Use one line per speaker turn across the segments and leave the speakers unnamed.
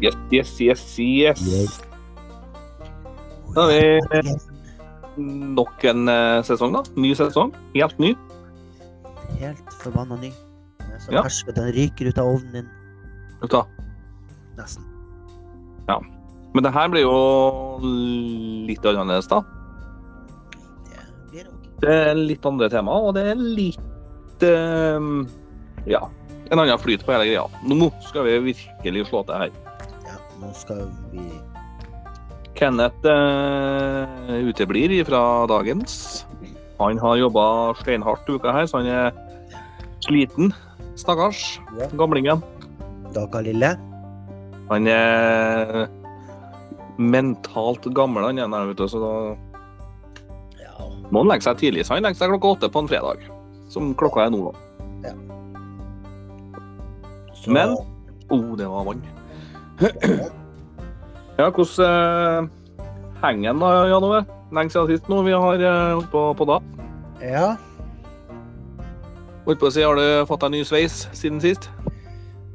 Yes, yes, yes, yes.
Yes.
Da har vi eh, nok en eh, sesong, da. Ny sesong. Helt ny.
Helt forbanna ny. Den er Så
Ja.
fersk at den ryker ut av ovnen din.
Vet du hva?
Nesten.
Men det her blir jo litt annerledes, da.
Det blir nok.
Det er litt andre tema, og det er litt eh, Ja, en annen flyt på hele greia. Nå skal vi virkelig slå til her.
Ja, nå skal vi
Kenneth eh, uteblir fra dagens. Han har jobba steinhardt uka her, så han er sliten. Stakkars.
Ja.
Gamlingen.
Daga lille.
Han er mentalt gammel, han ene her, vet du, så da
Ja.
må han legge seg tidlig. Så han legger seg klokka åtte på en fredag, som klokka er nå. da.
Så,
Men- Oh, det var vann. Ja, hvordan eh, henger den da, Jan Ove? Lenge siden sist nå vi har eh, holdt på, på da.
Ja.
Holdt på å si, har du fått deg ny sveis siden sist?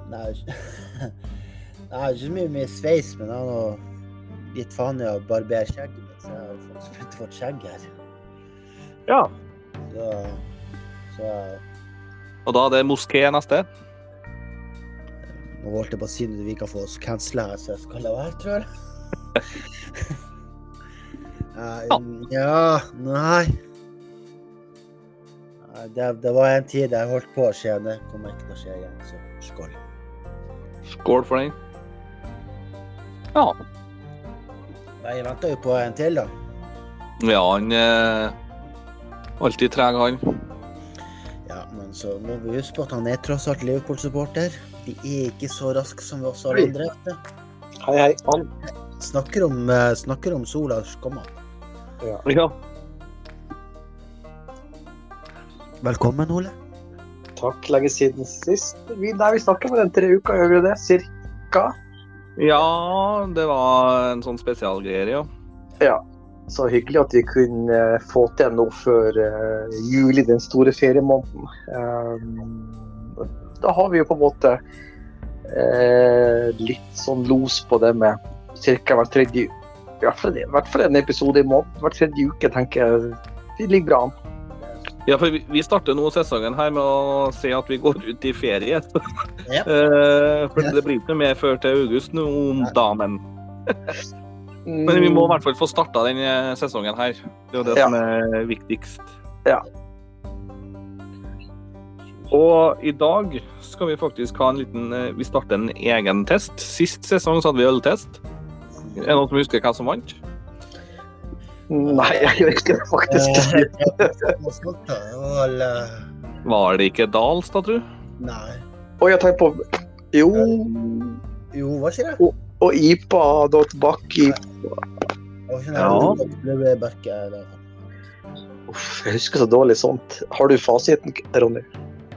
Nei, ikke- Nei, det er ikke så mye med sveis, men jeg har nå gitt faen i å barbere skjegget mitt, så jeg har fått sprutt vårt skjegg her.
Ja.
Så, så
Og da er det moské neste.
nå holdt jeg på å si noe vi kan få oss cancela her, så jeg skal la være, tror jeg. Nei, ja, nei. Nei, Det, det var en tid jeg holdt på å skje, det kommer ikke til å skje igjen, så skål.
Skål for den. Ja.
Nei, Jeg venter jo på en til, da.
Ja, han eh, Alltid treg, han.
Ja, men så må vi huske på at han er tross alt Liverpool-supporter. De er ikke så raske som vi også
Oi.
alle andre. vet du.
Hei, hei. An.
Snakker om, eh, snakker om sola kommer.
Ja.
Velkommen, Ole.
Takk, lenge siden sist. Vi, nei, vi snakker om den tre uka, gjør vi det? Cirka.
ja, det var en sånn spesialgreie, ja.
Så hyggelig at vi kunne eh, få til noe før eh, juli, den store feriemåneden. Eh, da har vi jo på en måte eh, litt sånn los på det med cirka hver tredje uke. I hvert fall- i hvert fall en episode i måneden. Hver tredje uke, tenker jeg. Vi ligger bra an.
Ja, for vi, vi starter nå sesongen her med å si at vi går ut i ferie.
Ja.
Eh, for det blir ikke noe mer før til august nå om dagen. Men vi må i hvert fall få starta denne sesongen her. Det er jo det
Ja.
som er viktigst.
Ja.
Og i dag skal vi faktisk ha en liten eh, Vi starter en egen test. Sist sesong så hadde vi øltest. Er det noen som husker hva som vant?
Mm, Nei, jeg gjør ikke det, faktisk.
Eh, det var snakk, da. Det var vel, eh,
Var det ikke Dals, da, tru?
Nei.
Og jeg tenker på Jo,
Jo, var ikke det?
og IPA da tilbake i
Det var ikke
Ja.
det. Det ble Berke der.
Uff, jeg husker så dårlig sånt. Har du fasiten, Ronny?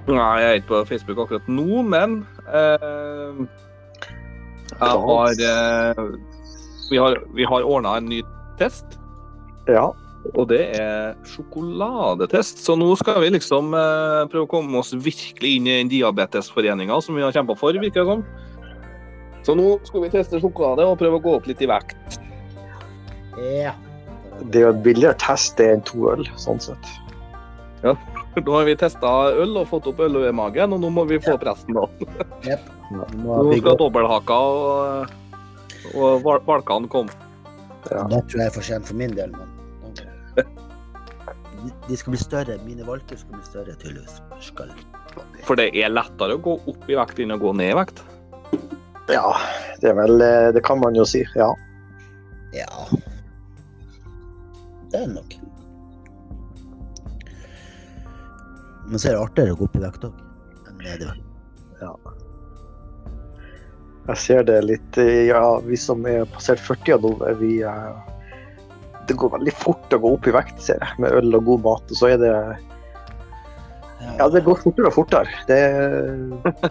Nei, jeg er ikke på Facebook akkurat nå, men eh, jeg har, eh, Vi har, vi har ordna en ny test.
Ja.
Og det er sjokoladetest. Så nå skal vi liksom eh, prøve å komme oss virkelig inn i den diabetesforeninga som vi har kjempa for, virker det som. Så nå skal vi teste sjokolade og prøve å gå opp litt i vekt.
Ja.
Det er jo en billigere test det enn to øl, sånn sett.
Nå har vi testa øl og fått opp ølmagen, og nå må vi få opp resten. da.
Vi
eh,
må
Nå
bygge
skal
opp.
dobbelthaka og, eh, og val- valkene komme.
Da tror jeg jeg er for sent for min del, men De- De skal bli større. Mine valker skal bli større, tydeligvis. Skal.
For det er lettere å gå opp i vekt enn å gå ned i vekt.
Ja, det er vel eh, Det kan man jo si, ja.
Ja. Det er det nok. Men så er det artigere å gå opp i vekt òg.
Jeg ser det litt eh, Ja, vi som er passert 40 nå, er vi eh, Det går veldig fort å gå opp i vekt, ser jeg, med øl og god mat. Og så er det Ja, det går fortere og fortere. Det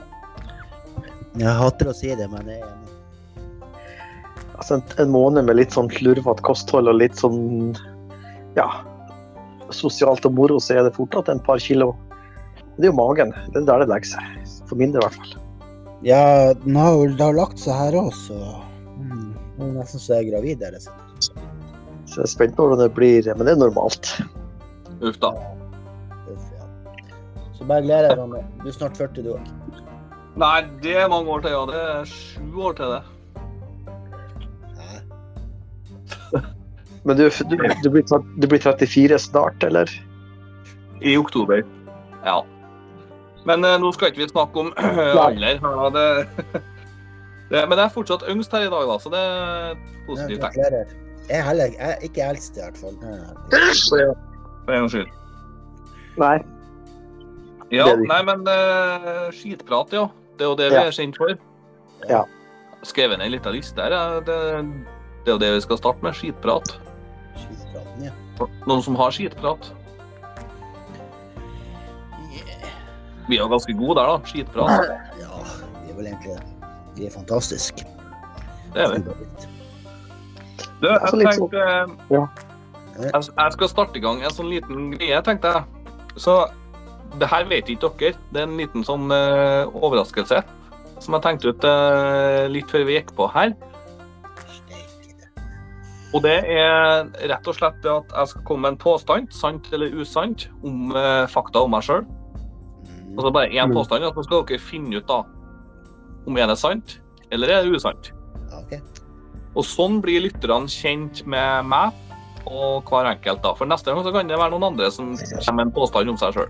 Jeg hater å si det, men jeg er enig.
Altså en, en måned med litt sånn slurvete kosthold og litt sånn ja, sosialt og moro, så er det fortsatt en par kilo. Det er jo magen. Det er der det legger seg. For min del, i hvert fall.
Ja, den har jo det har lagt seg her òg, så mm. Det er nesten så jeg er gravid. Eller, så.
Så jeg er spent på hvordan det blir, men det er normalt.
Uff da.
Uff, ja. så bare gleder jeg meg. Du er snart 40, du òg.
Nei, det er mange år til, ja. Det er sju år til det.
Men du, du, du, blir, tre- du blir 34 snart, eller?
I oktober. Ja. Men eh, nå skal ikke vi snakke om alder. Ja, det, det, men jeg er fortsatt yngst her i dag, da, så det er et positivt tegn.
Gratulerer. Jeg er heller jeg er ikke eldst, i hvert fall. Nei, nei.
For en gangs skyld.
Nei.
Ja,
Det er det.
nei, men eh, skitprat, ja. Det er jo det vi
Ja.
er kjent for.
Ja.
Skrevet ned en liten liste her. ja. Det, det er jo det vi skal starte med. Skitprat.
Skytegraden, ja.
Noen som har skitprat? Vi er jo ganske gode der, da. Skitprat.
Ja, vi er vel egentlig det. Vi er fantastiske.
Det er vi. Du,
Det er så
jeg
Altså, litt sånn-
tenkte eh,
Ja.
jeg, jeg skal starte i gang en sånn liten greie, tenkte jeg. Så det her vet ikke dere. Det er en liten sånn eh, overraskelse som jeg tenkte ut eh, litt før vi gikk på her.
Steike det.
Og det er rett og slett det at jeg skal komme med en påstand, sant eller usant, om eh, fakta om meg sjøl.
Mm.
Altså bare én
Mm.
påstand, og så skal dere finne ut da om er det sant eller er det usant.
Ja, ok.
Og sånn blir lytterne kjent med meg og hver enkelt. da. For neste gang så kan det være noen andre som kommer med en påstand om seg sjøl.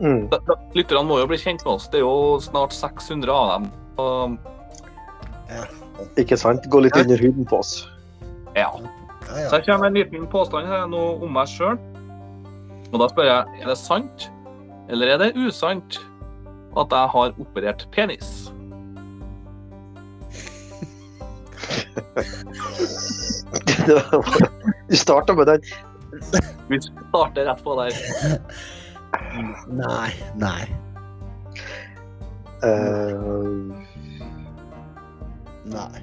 Mm.
Lytterne må jo bli kjent med oss. Det er jo snart 600 av dem. Og
Ikke sant? Gå litt under huden på oss.
ja.
Ja, ja.
Så jeg kommer med en liten påstand her nå om meg sjøl. Og da spør jeg er det sant eller er det usant at jeg har operert penis.
Du starta med den.
Vi starter rett på der.
Nei, nei.
Eh,
Nei.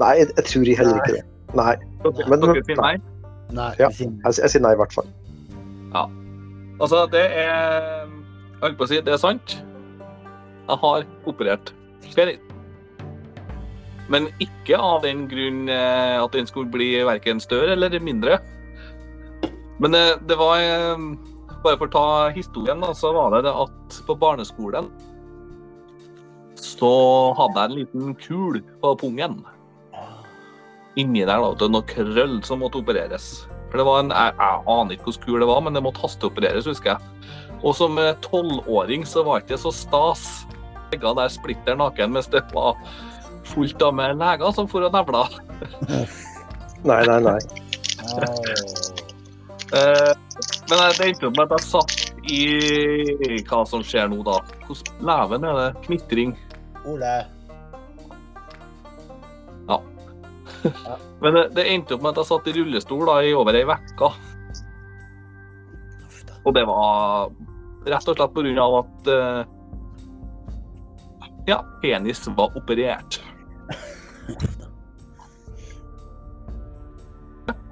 nei, jeg, jeg tror jeg heller ikke det. Nei.
Dere,
Men-
dere sier nei.
Nei,
Ja.
vi finner-
Jeg, jeg sier nei, i hvert fall.
Altså, det er Jeg holdt på å si det er sant. Jeg har operert penis. Men ikke av den grunn eh, at den skulle bli verken større eller mindre. Men eh, det var eh, Bare for å ta historien, da, så var det det at på barneskolen så hadde jeg en liten kul på pungen. Inni der da, vet du, noe krøll som måtte opereres. For det var en, jeg, jeg aner ikke hvordan kul det var, men det måtte hasteopereres, husker jeg. Og som eh, tolvåring så var ikke det så stas. Jeg ligga der splitter naken mens det var fullt av med leger som for og nevla.
Nei, nei, nei.
Åh.
Eh, men jeg- det endte opp med at jeg satt i hva som skjer nå, da. Hvordan leven er det? Knitring.
Ole.
Men det, det endte opp med at jeg satt i rullestol da, i over ei uke.
Uff da.
Og det var rett og slett på grunn av at eh, ja, penis var operert.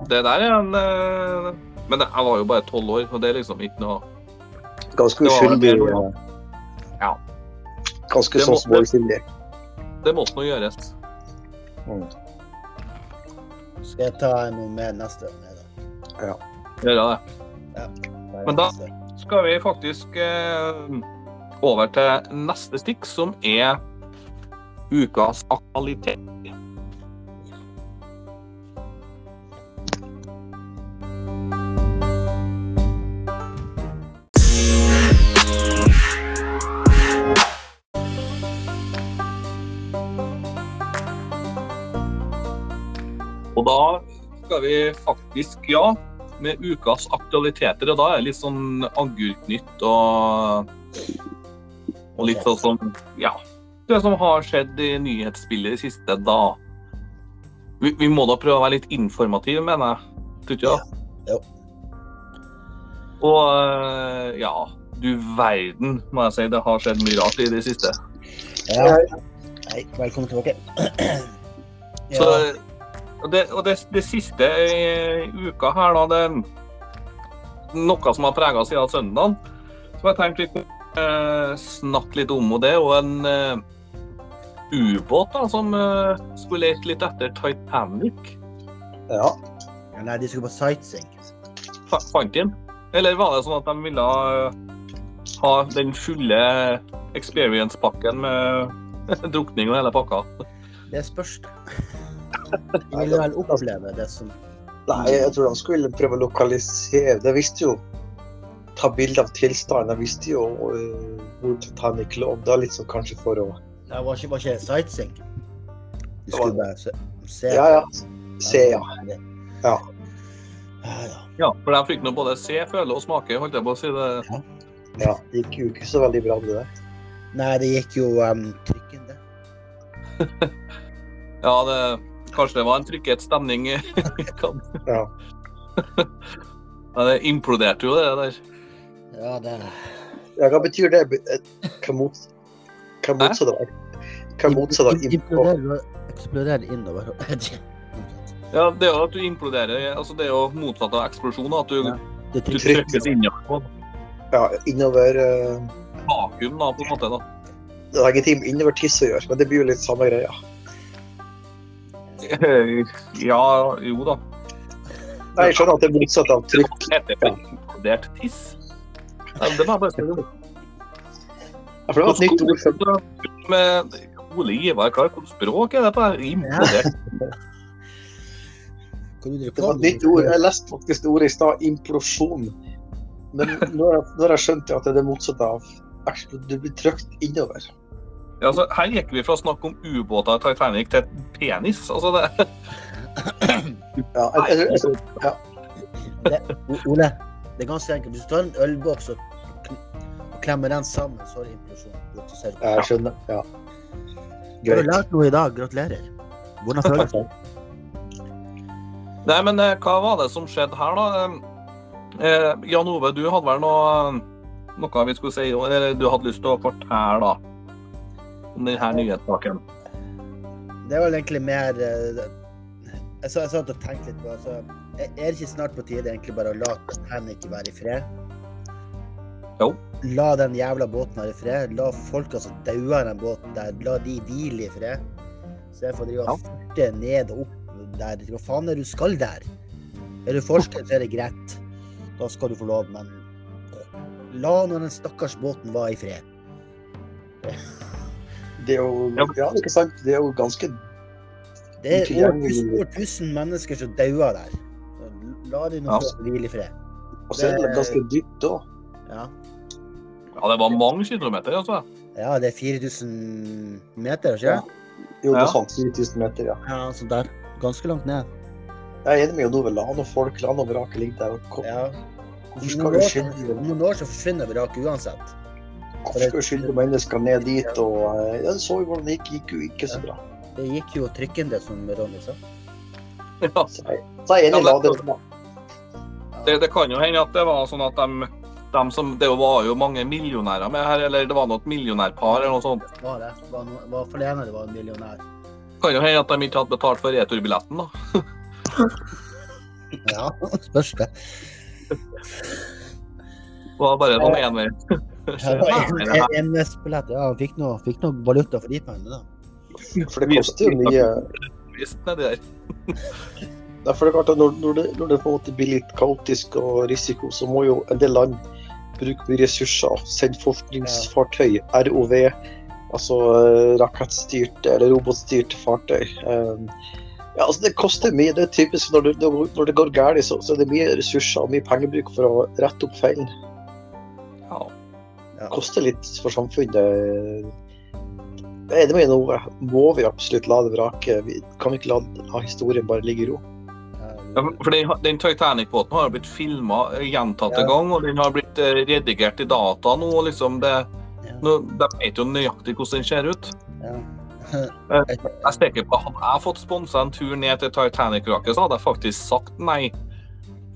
Det der er en eh, Men jeg var jo bare tolv år, og det er liksom ikke noe
Ganske
Det var
uskyldig.
det.
eh,
Ja.
Ganske
Det
sånn
måtte-
som vår sin lek.
Det måtte nå gjøres.
Skal jeg ta noe med neste gang? jeg, da?
Gjøre det.
Bare
Men da-
neste.
skal vi faktisk eh, over til neste stikk, som er ukas aktualitet. Og da skal vi faktisk, ja, med ukas aktualiteter, og da er det litt sånn agurknytt og Og litt sånn som Ja. Det som har skjedd i nyhetsbildet i det siste, da. Vi, vi må da prøve å være litt informative, mener jeg. Tror ikke det?
Ja. Jo.
Og eh, ja, du verden, må jeg si. Det har skjedd mye rart i det siste.
Ja. Hei, velkommen tilbake. Ja.
Så, og det, og det, det siste eh, uka her, da, det er noe som har prega siden søndagen, som jeg tenkte vi kunne eh, snakke litt om. Og det er jo en eh, ubåt da, som eh, skulle lete litt etter Titanic.
Ja.
Ja, nei, de skulle på sightseeing.
Fa fant de den? Eller var det sånn at de ville eh, ha den fulle experience-pakken med drukning og hele pakka?
Det spørs. det. De ville vel oppleve det som
Nei, jeg tror de skulle prøve å lokalisere De visste jo Ta bilde av tilstanden. De visste jo eh, hvor Titanic lå. Det er litt sånn kanskje for å
Det var ikke, var ikke sightseeing. Du
Det
skulle bare se. se
Ja, ja. Se, ja.
Det-
Ja.
Ja, ja.
Ja, for de fikk nå både se, føle og smake, holdt jeg på å si. det.
ja. Det gikk jo ikke så veldig bra med det.
Nei, det gikk jo um, trykken, det.
Ja, det, kanskje det var en trykket stemning. Kan-
Ja.
Men det imploderte jo, det der.
Ja, det
Ja, hva betyr det? Eh, Hva mot- hva motsatt av Hva motsatt av innpå?
Imploderer eksploderer innover.
Ja, Det er jo at du imploderer. altså Det er jo motsatt av eksplosjon. da, At du,
Ja. Det
du
trykker.
trykker.
trykkes inn i et
Ja, innover eh,
vakuum, da, på en måte. da.
Det er ingenting innover tiss å gjøre, men det blir jo litt samme greia.
Ja, jo da.
Nei, jeg skjønner at det er motsatt av trykk.
Heter det implodert tiss? Ja, det var bare sånn.
Ja, For det var et nytt ord for
Med Ole Ivar Clark, hvilket språk er det på her? Implodert.
Kan du drive
Det var et nytt ord. Jeg leste faktisk ordet i stad, implosjon. Men nå har jeg- nå har jeg skjønt at det er det motsatte av eksplod- Du blir trykt innover.
Ja, altså, her gikk vi fra å snakke om ubåter og Titanic til penis. altså det...
Ja, jeg, jeg, jeg,
O- Ole, det er ganske enkelt. Hvis du tar en ølboks og, kn- og klemmer den sammen, så er det implosjon. Godt, så ser du.
jeg skjønner. Ja.
Har du
Greit.
lært noe i dag? Gratulerer. Hvordan føles det?
Nei, men eh, hva var det som skjedde her, da? Eh, Jan Ove, du hadde vel noe, noe vi skulle si, eller du hadde lyst til å fortelle da, om denne nyhetssaken?
Det er vel egentlig mer eh, det- Jeg sa- jeg satt og tenkte litt på altså, Er er det ikke snart på tide egentlig bare å la Titanic være i fred?
Jo.
La den jævla båten være i fred. La folka som dauer i den båten der, la de hvile i fred. Så jeg får drive og farte ned og opp der. Hva faen er du skal der? Er du forsker, så er det greit. Da skal du få lov, men la nå den stakkars båten være i fred.
Det er jo
Ja.
Ja, ikke sant? Det er jo ganske
Det
Ikke
er over
gjerne-
tusen, over tusen mennesker som dauer der. Så La de nå
Ja.
få hvile i fred.
Og så er det ganske dypt òg.
Ja.
Ja, det var mange kilometer, altså.
ja, det er 4000 meter, ikke sant?
Jo, det
Ja.
er sånn 4000 meter, ja.
Ja, altså der. Ganske langt ned.
Jeg er enig med Jon Ove. La noen folk, la noen vraket ligge der. og kom-
Ja.
Hvorfor skal uskyldige
Om noen år så forsvinner vraket uansett.
hvorfor skal uskyldige mennesker ned dit? Og eh, ja, så jo hvordan det gikk. Gikk jo ikke så bra.
Det gikk jo trykkende, som Ronny sa.
Ja.
Så jeg, så jeg er enig. La det
Det, det kan jo hende at det var sånn at de, de som, det var jo mange millionærer med her, eller det var noe millionærpar eller noe sånt.
Var det? Var, no, var for det ene det var en millionær.
Kan jo hende at de ikke hadde betalt for returbilletten, da.
Ja, spørs det.
Det var bare sånn envei.
Ja, NS-billett. Ja, han fikk noe, fikk noe valuta for de pengene, da.
For det koster jo mye.
Visst nedi der.
Nei, for det er klart at når, når, det, når det på en måte blir litt kaotisk og risiko, så må jo en del land bruke mye ressurser. Sende forskningsfartøy, ROV, altså eh, rakettstyrte eller robotstyrte fartøy. Um, ja, altså Det koster mye. Det er typisk når det, når det går galt, så, så er det mye ressurser og mye pengebruk for å rette opp feilen.
Ja.
Ja.
Det koster litt for samfunnet. Jeg er enig med noe. Må vi absolutt la det vrake? Vi kan vi ikke la, la historien bare ligge i ro?
Ja, for den, den Titanic-båten har jo blitt filma gjentatte
Ja.
ganger, og den har blitt eh, redigert i data nå. og liksom det,
Ja.
nå de vet jo nøyaktig hvordan den ser ut. Jeg er sikker på Hadde jeg fått sponsa en tur ned til Titanic-vraket, så hadde jeg faktisk sagt nei.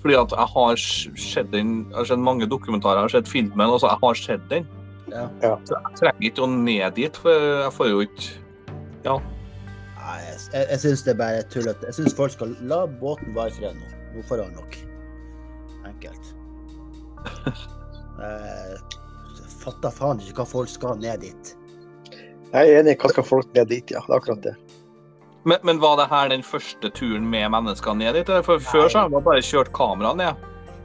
Fordi at jeg har s- sett den, jeg har sett mange dokumentarer, jeg har sett filmen, og så jeg har sett den.
Ja.
Ja.
Så jeg trenger ikke å ned dit, for jeg får jo ikke
Nei, jeg, jeg, jeg syns det er bare tullete. Jeg syns folk skal la båten være i fred nå. Nå får han nok. Enkelt. Eh, Jeg fatter faen ikke hva folk skal ned dit.
Jeg er enig i hva skal folk ned dit, ja. Det er akkurat det.
Men, men var det her den første turen med mennesker ned dit? eller? For før så har man bare kjørt kamera ned.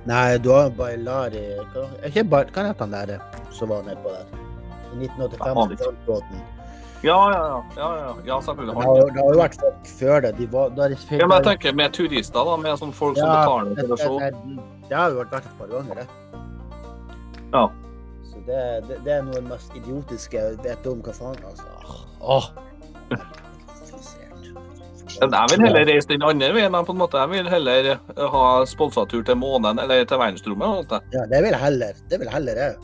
Nei, du har Bailari hva- Er ikke Bar... Hva het han der eh, som var nedpå der? I 1985
Aner ikke.
med båten.
Ja, ja, ja. ja, ja. ja
Det
selvfølgelig.
har
Han,
jo det har jo vært folk før det. De var, da er det
ja, men jeg tenker med turister, da, med sånne folk som
Ja,
betaler
det,
for å se.
det, det, det har jo vært vært et par ganger, det.
Ja.
Så det, det, det er noe av det mest idiotiske jeg vet om hva faen, altså.
Åh. Men jeg vil heller reise den andre veien. da, på en måte. Jeg vil heller eh, ha sponsatur til månen eller til verdensrommet. og alt det.
Ja, det vil jeg heller. Det vil jeg heller, jeg.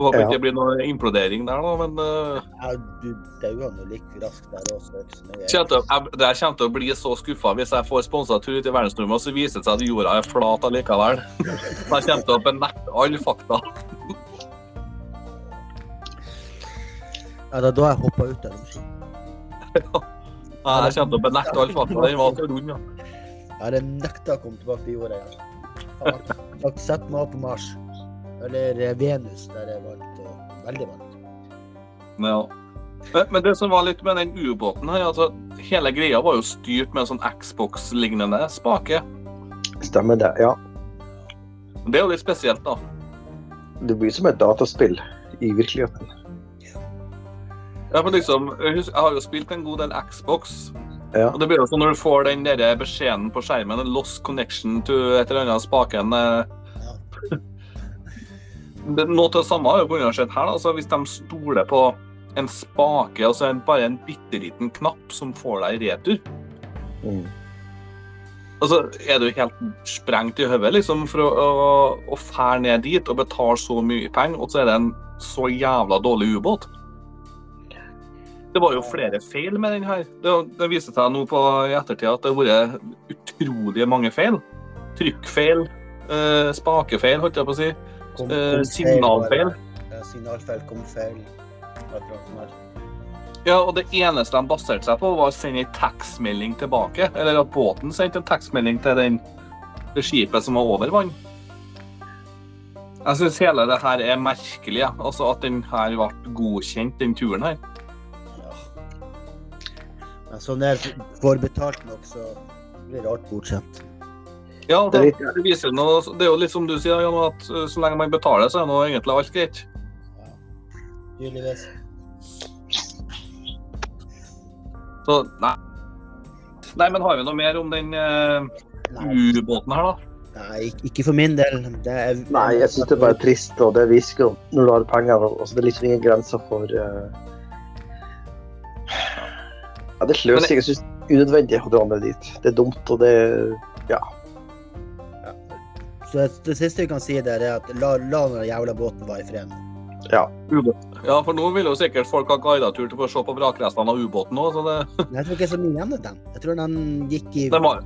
Håper
Ja.
ikke det blir noe implodering der, da. Men eh,
Jeg- Du dauer nå like raskt der også. ikke så mye.
kjente, jeg, jeg kommer til å bli så skuffa hvis jeg får sponsatur ut i verdensrommet, og så viser det seg at jorda er flat allikevel. Jeg kommer til å benekte alle fakta.
Ja, det er da jeg hoppa ut av romskipet.
Nei, Jeg kommer til å benekte alle fakta. Den var så rund, ja.
Jeg hadde nekta å komme tilbake til jorda igjen. Faen, Jeg har ikke sett meg opp på Mars. Eller eh, Venus, der det er varmt. Og veldig varmt.
Men ja. Men- Men det som var litt med den ubåten her, altså hele greia var jo styrt med en sånn Xbox-lignende spake.
Stemmer det. Ja.
Det er jo litt spesielt, da.
Det blir som et dataspill i virkeligheten.
Ja, for liksom, jeg hus- jeg har jo spilt en god del Xbox.
Ja.
Og det blir jo sånn når du får den der beskjeden på skjermen, en lost connection to et eller annet spaken. eh. Det- Noe til det samme har jo kunnet skjedd her. da. Altså, hvis de stoler på en spake, altså en, bare en bitte liten knapp som får deg i retur,
Mm.
altså, er du helt sprengt i hodet liksom, for å, å, å fære ned dit og betale så mye penger, og så er det en så jævla dårlig ubåt? Det var jo flere feil med den her. Det, det viser seg nå på, i ettertid at det har vært utrolig mange feil. Trykkfeil, eh, spakefeil, holdt jeg på å si.
Kom-
Eh,
kom feil,
signalfeil.
bare. Ja, signalfeil, kom feil. Akkurat som her.
Ja, og det eneste de baserte seg på, var å sende en tekstmelding tilbake. Eller at båten sendte en tekstmelding til den, det skipet som var over vann. Jeg syns hele det her er merkelig, ja. altså at den her ble godkjent, den turen her.
Ja. Men sånn er Får betalt nok, så blir det alt godkjent.
Ja, det,
Det er litt-
det, viser jo noe, altså, det er jo litt som du sier, Jan, at eh, så lenge man betaler, så er nå egentlig alt greit.
Ja. Tydeligvis.
Så nei. Nei, men har vi noe mer om den eh,
Nei,
ubåten her, da?
nei, ik- ikke for min del. Det er,
Nei, jeg syns det er bare trist, og det visker jo når du har penger. og så Det er liksom ingen grenser for eh, Ja, det er sløsing. Jeg syns det er unødvendig å dra med dit. Det er dumt, og det
Så det, det siste vi kan si der, er at la, la den jævla båten være i fred. nå.
Ja, for nå vil jo sikkert folk ha guidetur til å få se på vrakrestene av ubåten òg, så det
Men Jeg tror ikke så mye igjen av den. Jeg tror den gikk i
De har,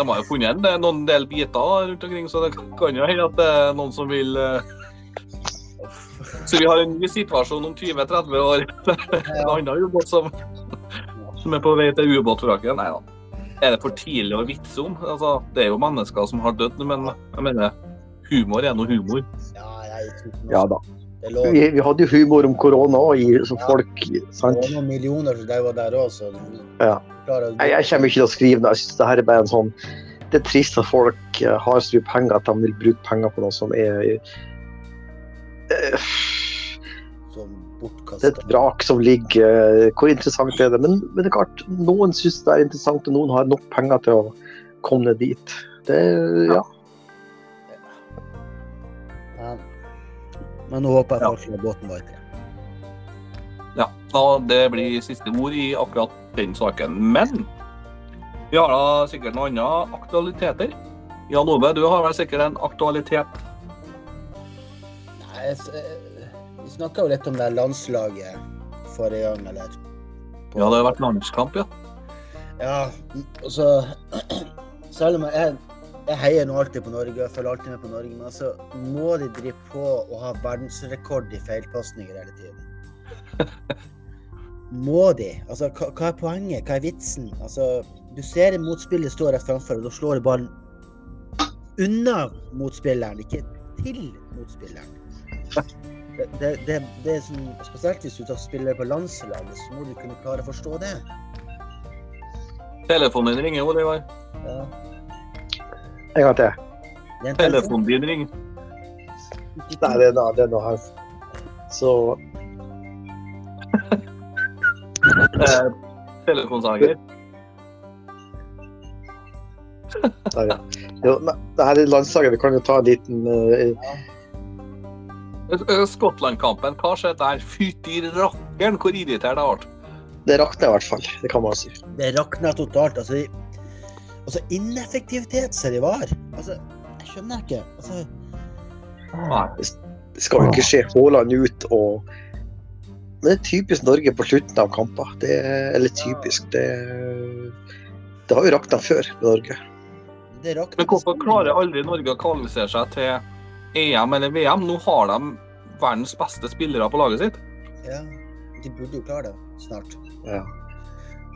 de har jo funnet en del- noen del biter rundt omkring, så det kan jo hende at det er noen som vil eh, Så vi har en ny situasjon om 20-30 år. En
Ja.
annen ubåt som, som er på vei til ubåtvraket. Nei da. Er det for tidlig å vitse om? Altså, det er jo mennesker som har dødd, men jeg mener humor er nå humor.
Ja, jeg tror ikke noe.
Ja da.
Det lå
Vi, vi hadde jo humor om korona òg, som
Ja.
folk
det
sant?
var noen millioner som var der òg, så du
Ja.
klarer å
Nei, jeg kommer ikke til å skrive noe. Jeg synes det her er bare en sånn Det er trist at folk eh, har så mye penger at de vil bruke penger på noe som er eh,
som
Det er
bortkastet.
et vrak som ligger eh, Hvor interessant er det? Men, men det er klart, noen syns det er interessant, og noen har nok penger til å komme ned dit. Det, ja.
Men, men nå håper jeg folk lar båten være i fred.
Ja, da det blir siste ord i akkurat den saken. Men vi har da sikkert noen andre aktualiteter. Jan Ove, du har vel sikkert en aktualitet?
Nei, jeg s- eh, Vi snakka jo litt om det landslaget forrige gang, eller?
Ja, det har vært landskamp, ja.
Ja, og så Selv om jeg, jeg heier nå alltid på Norge, jeg følger alltid med på Norge, men altså må de drive på og ha verdensrekord i feilpasninger hele tiden? Må de? Altså, hva, hva er poenget? Hva er vitsen? Altså, du ser en motspiller stå rett framfor, og da slår du ballen unna motspilleren, ikke til motspilleren. det, det, det, det er sånn, Spesielt hvis du tar spiller på landslaget, så må du kunne klare å forstå det.
Telefonen din ringer, Oliver.
Ja.
En gang til.
Det er en telefon.
Telefonen din ringer.
Nei, det er noe, det er noe her. Så
Eh, telefonsaker.
der, ja. Jo, nei, det her er landslaget. Vi kan jo ta en liten eh,
Eh, Skottland-kampen, hva skjedde der? Fytti rakkeren, hvor irritert jeg ble.
Det rakna i hvert fall. Det kan man si.
Det rakna totalt. Altså, i- altså ineffektivitet ser jeg var. Altså, jeg skjønner ikke. Altså,
Nei.
Det skal jo ikke skje. Haaland ut og Men det er typisk Norge på slutten av kamper. Det er, eller typisk Det, det har jo rakna før med Norge.
det rakna
Men hvorfor klarer aldri Norge å kvalifisere seg til EM eller VM? Nå har de verdens beste spillere på laget sitt.
Ja, de burde jo klare det snart.
Ja.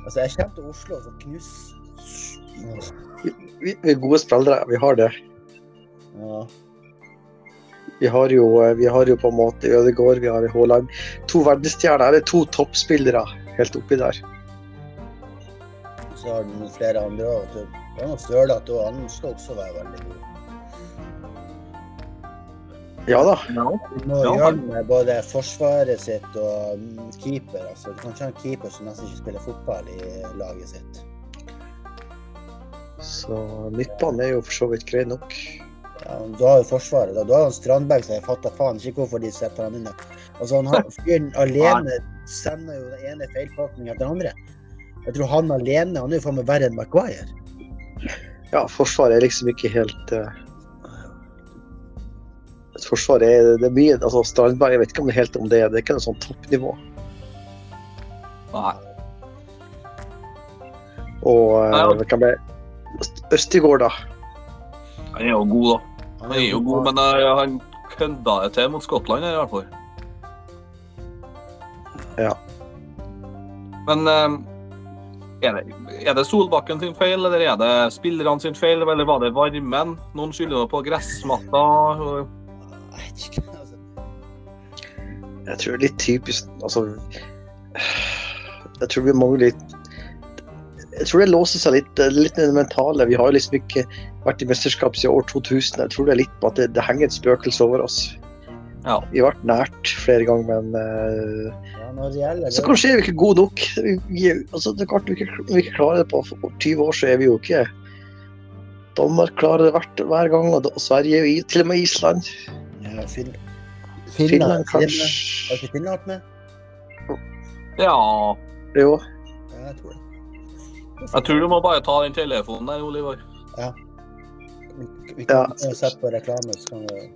Altså, jeg kommer til Oslo og får knus.
Vi, vi er gode spillere. Vi har det.
Ja.
Vi har jo, eh, vi har jo på en måte Ødegaard, vi har Haaland. To verdensstjerner, eller to toppspillere helt oppi der.
Så har du noen flere andre òg. Det er noe sørlete òg. Han skal også være veldig god.
Ja da.
Du må
Ja,
gjøre
han-
med både forsvaret sitt og mm, keeper. Altså, du kan ikke ha en keeper som nesten ikke spiller fotball i laget sitt.
Så midtbanen er jo for så vidt grei nok.
Ja, du har jo Forsvaret. Da. Du har jo en Strandberg som jeg fatter faen ikke hvorfor de setter han inne. Altså, han har, fyren alene sender jo den ene feilpakningen etter den andre. Jeg tror han alene han er jo faen meg verre enn Maguire.
Ja, Forsvaret er liksom ikke helt eh, Forsvaret er, det er mye altså Strandberg, jeg vet ikke om det er helt om det er. Det er ikke noe sånn toppnivå.
Nei.
Og eh,
Ja.
hvem er Østigård, da.
Han er jo god, da. Han er jo god,
god.
men eh, han kødda det til mot Skottland her, i hvert fall.
Ja.
Men eh, er det, er det Solbakken sin feil, eller er det spillerne sin feil, eller var det varmen? Noen skylder det på gressmatta. og-
Jeg vet ikke, altså.
Jeg tror det er litt typisk Altså Jeg tror vi mangler litt Jeg tror det låser seg litt, eh, litt med det mentale. Vi har jo liksom ikke vært i mesterskap siden år 2000. Jeg tror det er litt på at det, det henger et spøkelse over oss.
Ja.
Vi har vært nært flere ganger, men eh,
Ja, når det gjelder
Så kanskje er vi ikke gode nok. Vi- Vi, altså, det er klart vi ikke, vi ikke klarer det på for 20 år, så er vi jo ikke Danmark klarer det hvert, hver gang, og, da- og Sverige og i- til og med Island.
ja, Finn...
Finland
Finland, Finland. Har
kanskje
ikke Finland vært med?
Ja,
Jo.
Ja, jeg tror det.
jeg tror du må bare ta den telefonen der, Oliver.
Vi- Vi
Ja.
kan ja. sette på reklame, så kan vi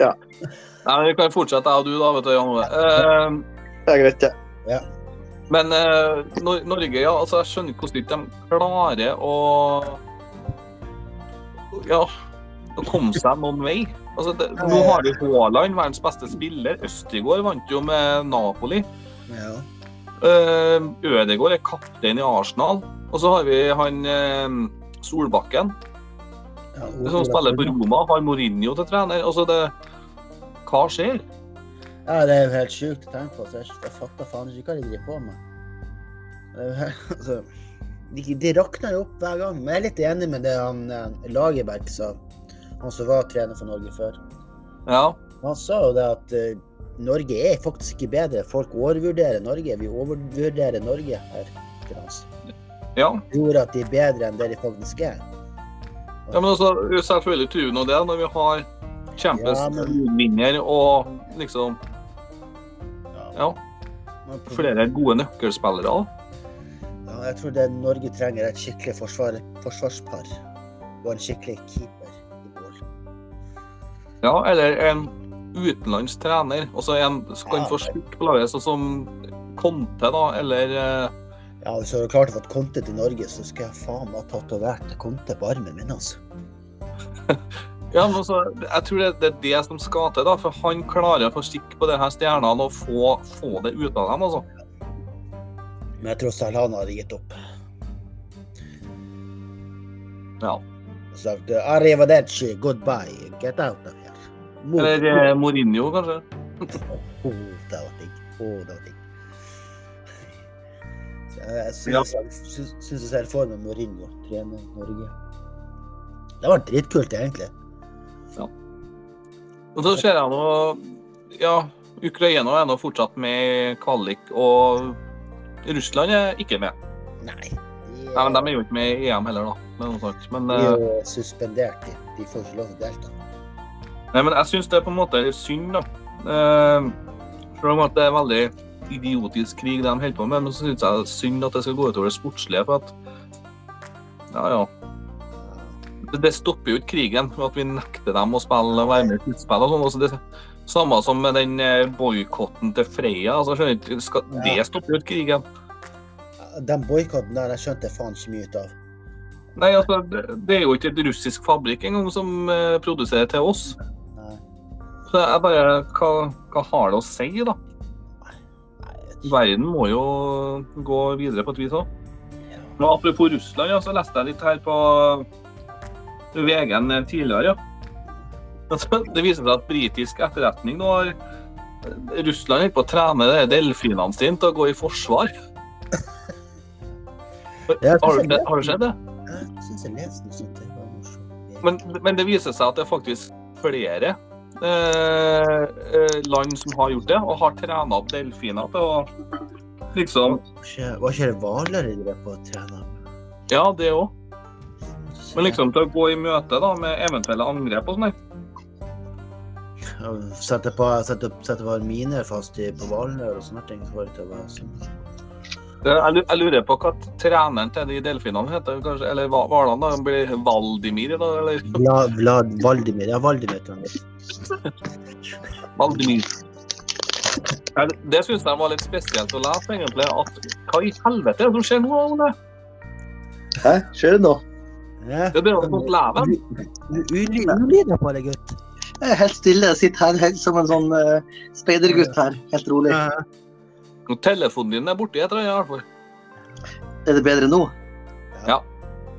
Nei, men Vi kan fortsette, jeg og du, da, vet du, Jan Ove. Eh,
Det er greit, det.
Men eh, Nor Norge, ja. altså Jeg skjønner ikke hvordan de klarer å Ja, å komme seg noen vei. Altså, det, nå har du Haaland, verdens beste spiller. Østigård vant jo med Napoli.
ja.
Eh, Ødegaard er kaptein i Arsenal. Og så har vi han eh, Solbakken,
Ja,
som spiller på Roma. Har Mourinho til trener. Altså, det Hva skjer?
Ja, det er jo helt sjukt å tenke på. Så jeg, jeg fatter faen ikke hva de driver på med. Det er jo helt, altså, de, de rakner jo opp hver gang. Men jeg er litt enig med det han eh, Lagerberg sa, han som var trener for Norge før.
Ja.
Han sa jo det at eh, Norge er faktisk ikke bedre. Folk overvurderer Norge. Vi overvurderer Norge her til lands.
ja.
Tror at de er bedre enn det de faktisk er.
Ja, men altså, selvfølgelig tror vi nå det, når vi har Champions
Ja, men-
League-vinner og liksom Ja.
Men pro-
flere gode nøkkelspillere. da.
Ja, jeg tror det Norge trenger, er et skikkelig forsvar, forsvarspar og en skikkelig keeper i mål.
Ja, eller en utenlandsk trener. Og så en som
Ja.
kan få spurt på laget, sånn som Conte, da, eller eh,
Ja, Hvis du hadde klart å få Conte til Norge, så skal jeg faen meg ha tatovert Conte på armen min. altså.
Ja, men altså, jeg tror det, det er det som skal til, da. For han klarer å få stikk på de her stjernene og få, få det ut av dem, altså.
Men jeg tror Salana hadde gitt opp.
Ja.
Sagt arrivederci, goodbye, get out of here. Mot-
eh, Eller eh, Mourinho, kanskje.
Oh, det var digg. Oh, det var digg. Så Jeg jeg
Ja.
syns syns- syns jeg ser for meg Mourinho trene Norge. Det var dritkult, egentlig.
Og så ser jeg nå Ja, Ukraina er nå fortsatt med i kvalik, og Russland er ikke med.
Nei.
Nei, men De er jo ikke med i EM heller, da. Men, noe sånt. men,
De
eh,
er jo suspendert. De, de får ikke lov til å delta.
nei, men jeg syns det er på en måte litt synd, da. Eh, Selv om at det er veldig idiotisk krig de holder på med, men så syns jeg det er synd at det skal gå utover det sportslige. for at ja, ja. Det- Det stopper jo ikke krigen med at vi nekter dem å spille og være med i sluttspill. og sånn. Altså, det samme som med den eh, boikotten til Freia. Altså, jeg skjønner ikke, skal, Det stopper jo ikke krigen.
Ja. Den boikotten der jeg skjønte jeg faen ikke mye ut av.
Nei, altså, det- det er jo ikke et russisk fabrikk engang som eh, produserer til oss.
Nei.
Så jeg bare hva, hva har det å si, da?
Nei, jeg vet ikke.
Verden må jo gå videre på et vis òg. Men apropos Russland, ja, så leste jeg litt her på VG-en eh, tidligere. ja. Altså, Det viser seg at britisk etterretning nå har eh, Russland holder på å trene de delfinene sine til å gå i forsvar.
Ja, jeg
Har
synes
du,
jeg
har du sett det?
Jeg syns jeg leste noe sånt. Det var morsomt.
Men, men det viser seg at det er faktisk flere eh, eh, land som har gjort det, og har trena opp delfiner til å liksom
Var ikke- Var ikke det Hvaler de drev på å trene?
Ja, det òg. Men liksom til å gå i møte da, med eventuelle angrep og sånn. der.
Sette på, sette, sette på miner fast i, på Hvalnøy og sånne ting. så var det til å være sånn.
Det- Jeg lu- jeg lurer på hva treneren til de delfinene heter, kanskje, eller hva- hvalene? da, Han blir Valdimir, da, eller
Vla, Vlad Valdimir. Ja, Valdimir tror jeg.
Valdimir. Ja, det- Det syns jeg var litt spesielt å lese, egentlig. At hva i helvete er det som skjer nå, Ole?
Hæ, skjer det nå?
Ja.
Det blir jo sånt leven.
Du ulider på deg, gutt.
Jeg er helt stille. Jeg sitter her helt som en sånn uh, speidergutt her. Helt rolig.
Og Telefonen din er borti et eller annet, i hvert fall.
Er det bedre nå?
Ja.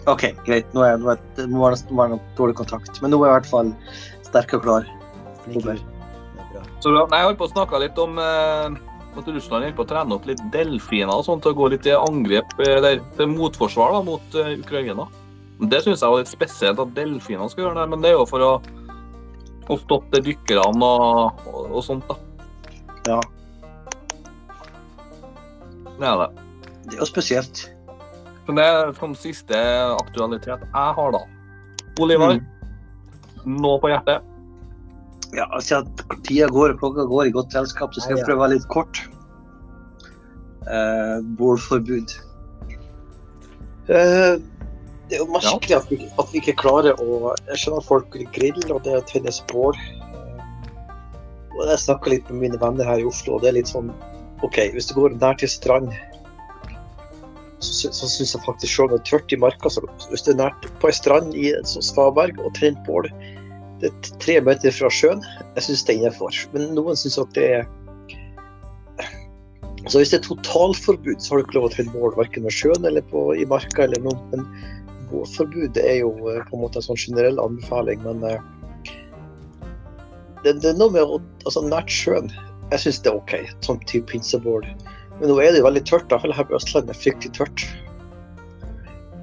OK, greit. Nå, er, nå, er, det må være- må være noe dårlig kontakt. Men nå er jeg i hvert fall sterk og klar.
Flink
Over.
gutt. Det er bra.
Så da- nei, jeg holdt på å snakke litt om eh, at Russland holder på å trene opp litt delfiner og sånt, og gå litt i angrep, eh, eller til motforsvar da, mot eh, Ukraina. Men Det syns jeg var litt spesielt at delfinene skal gjøre det, men det er jo for å, å stoppe dykkerne og, og, og sånt, da.
Ja.
Det er det.
Det er jo spesielt.
Men det er som siste aktualitet jeg har, da. Olivar, nå på hjertet.
Ja, altså at tida går og klokka går i godt selskap, så skal
Ja,
jeg
ja.
prøve å være litt kort. Eh, Bålforbud. Eh, det er jo merkelig at, vi, at vi ikke klarer å Jeg skjønner at folk griller, og det er å tenne bål. Eh, Og jeg snakka litt med mine venner her i Oslo, og det er litt sånn OK, hvis du går nær til strand, så, sy- så syns jeg faktisk sjøl det er tørt i marka. Så hvis du er nært på ei strand i et sånt svaberg og tenner bål, det er t- tre meter fra sjøen, jeg syns det er innafor. Men noen syns at det er Så hvis det er totalforbud, så har du ikke lov å tenne bål verken ved sjøen eller på, i marka eller noe. Men bålforbud er jo eh, på en måte en sånn generell anbefaling, men eh, det, det er noe med å Altså nært sjøen. Jeg syns det er OK, sånn type pinsebål. Men nå er det jo veldig tørt, i hvert fall her på Østlandet. Fryktelig tørt.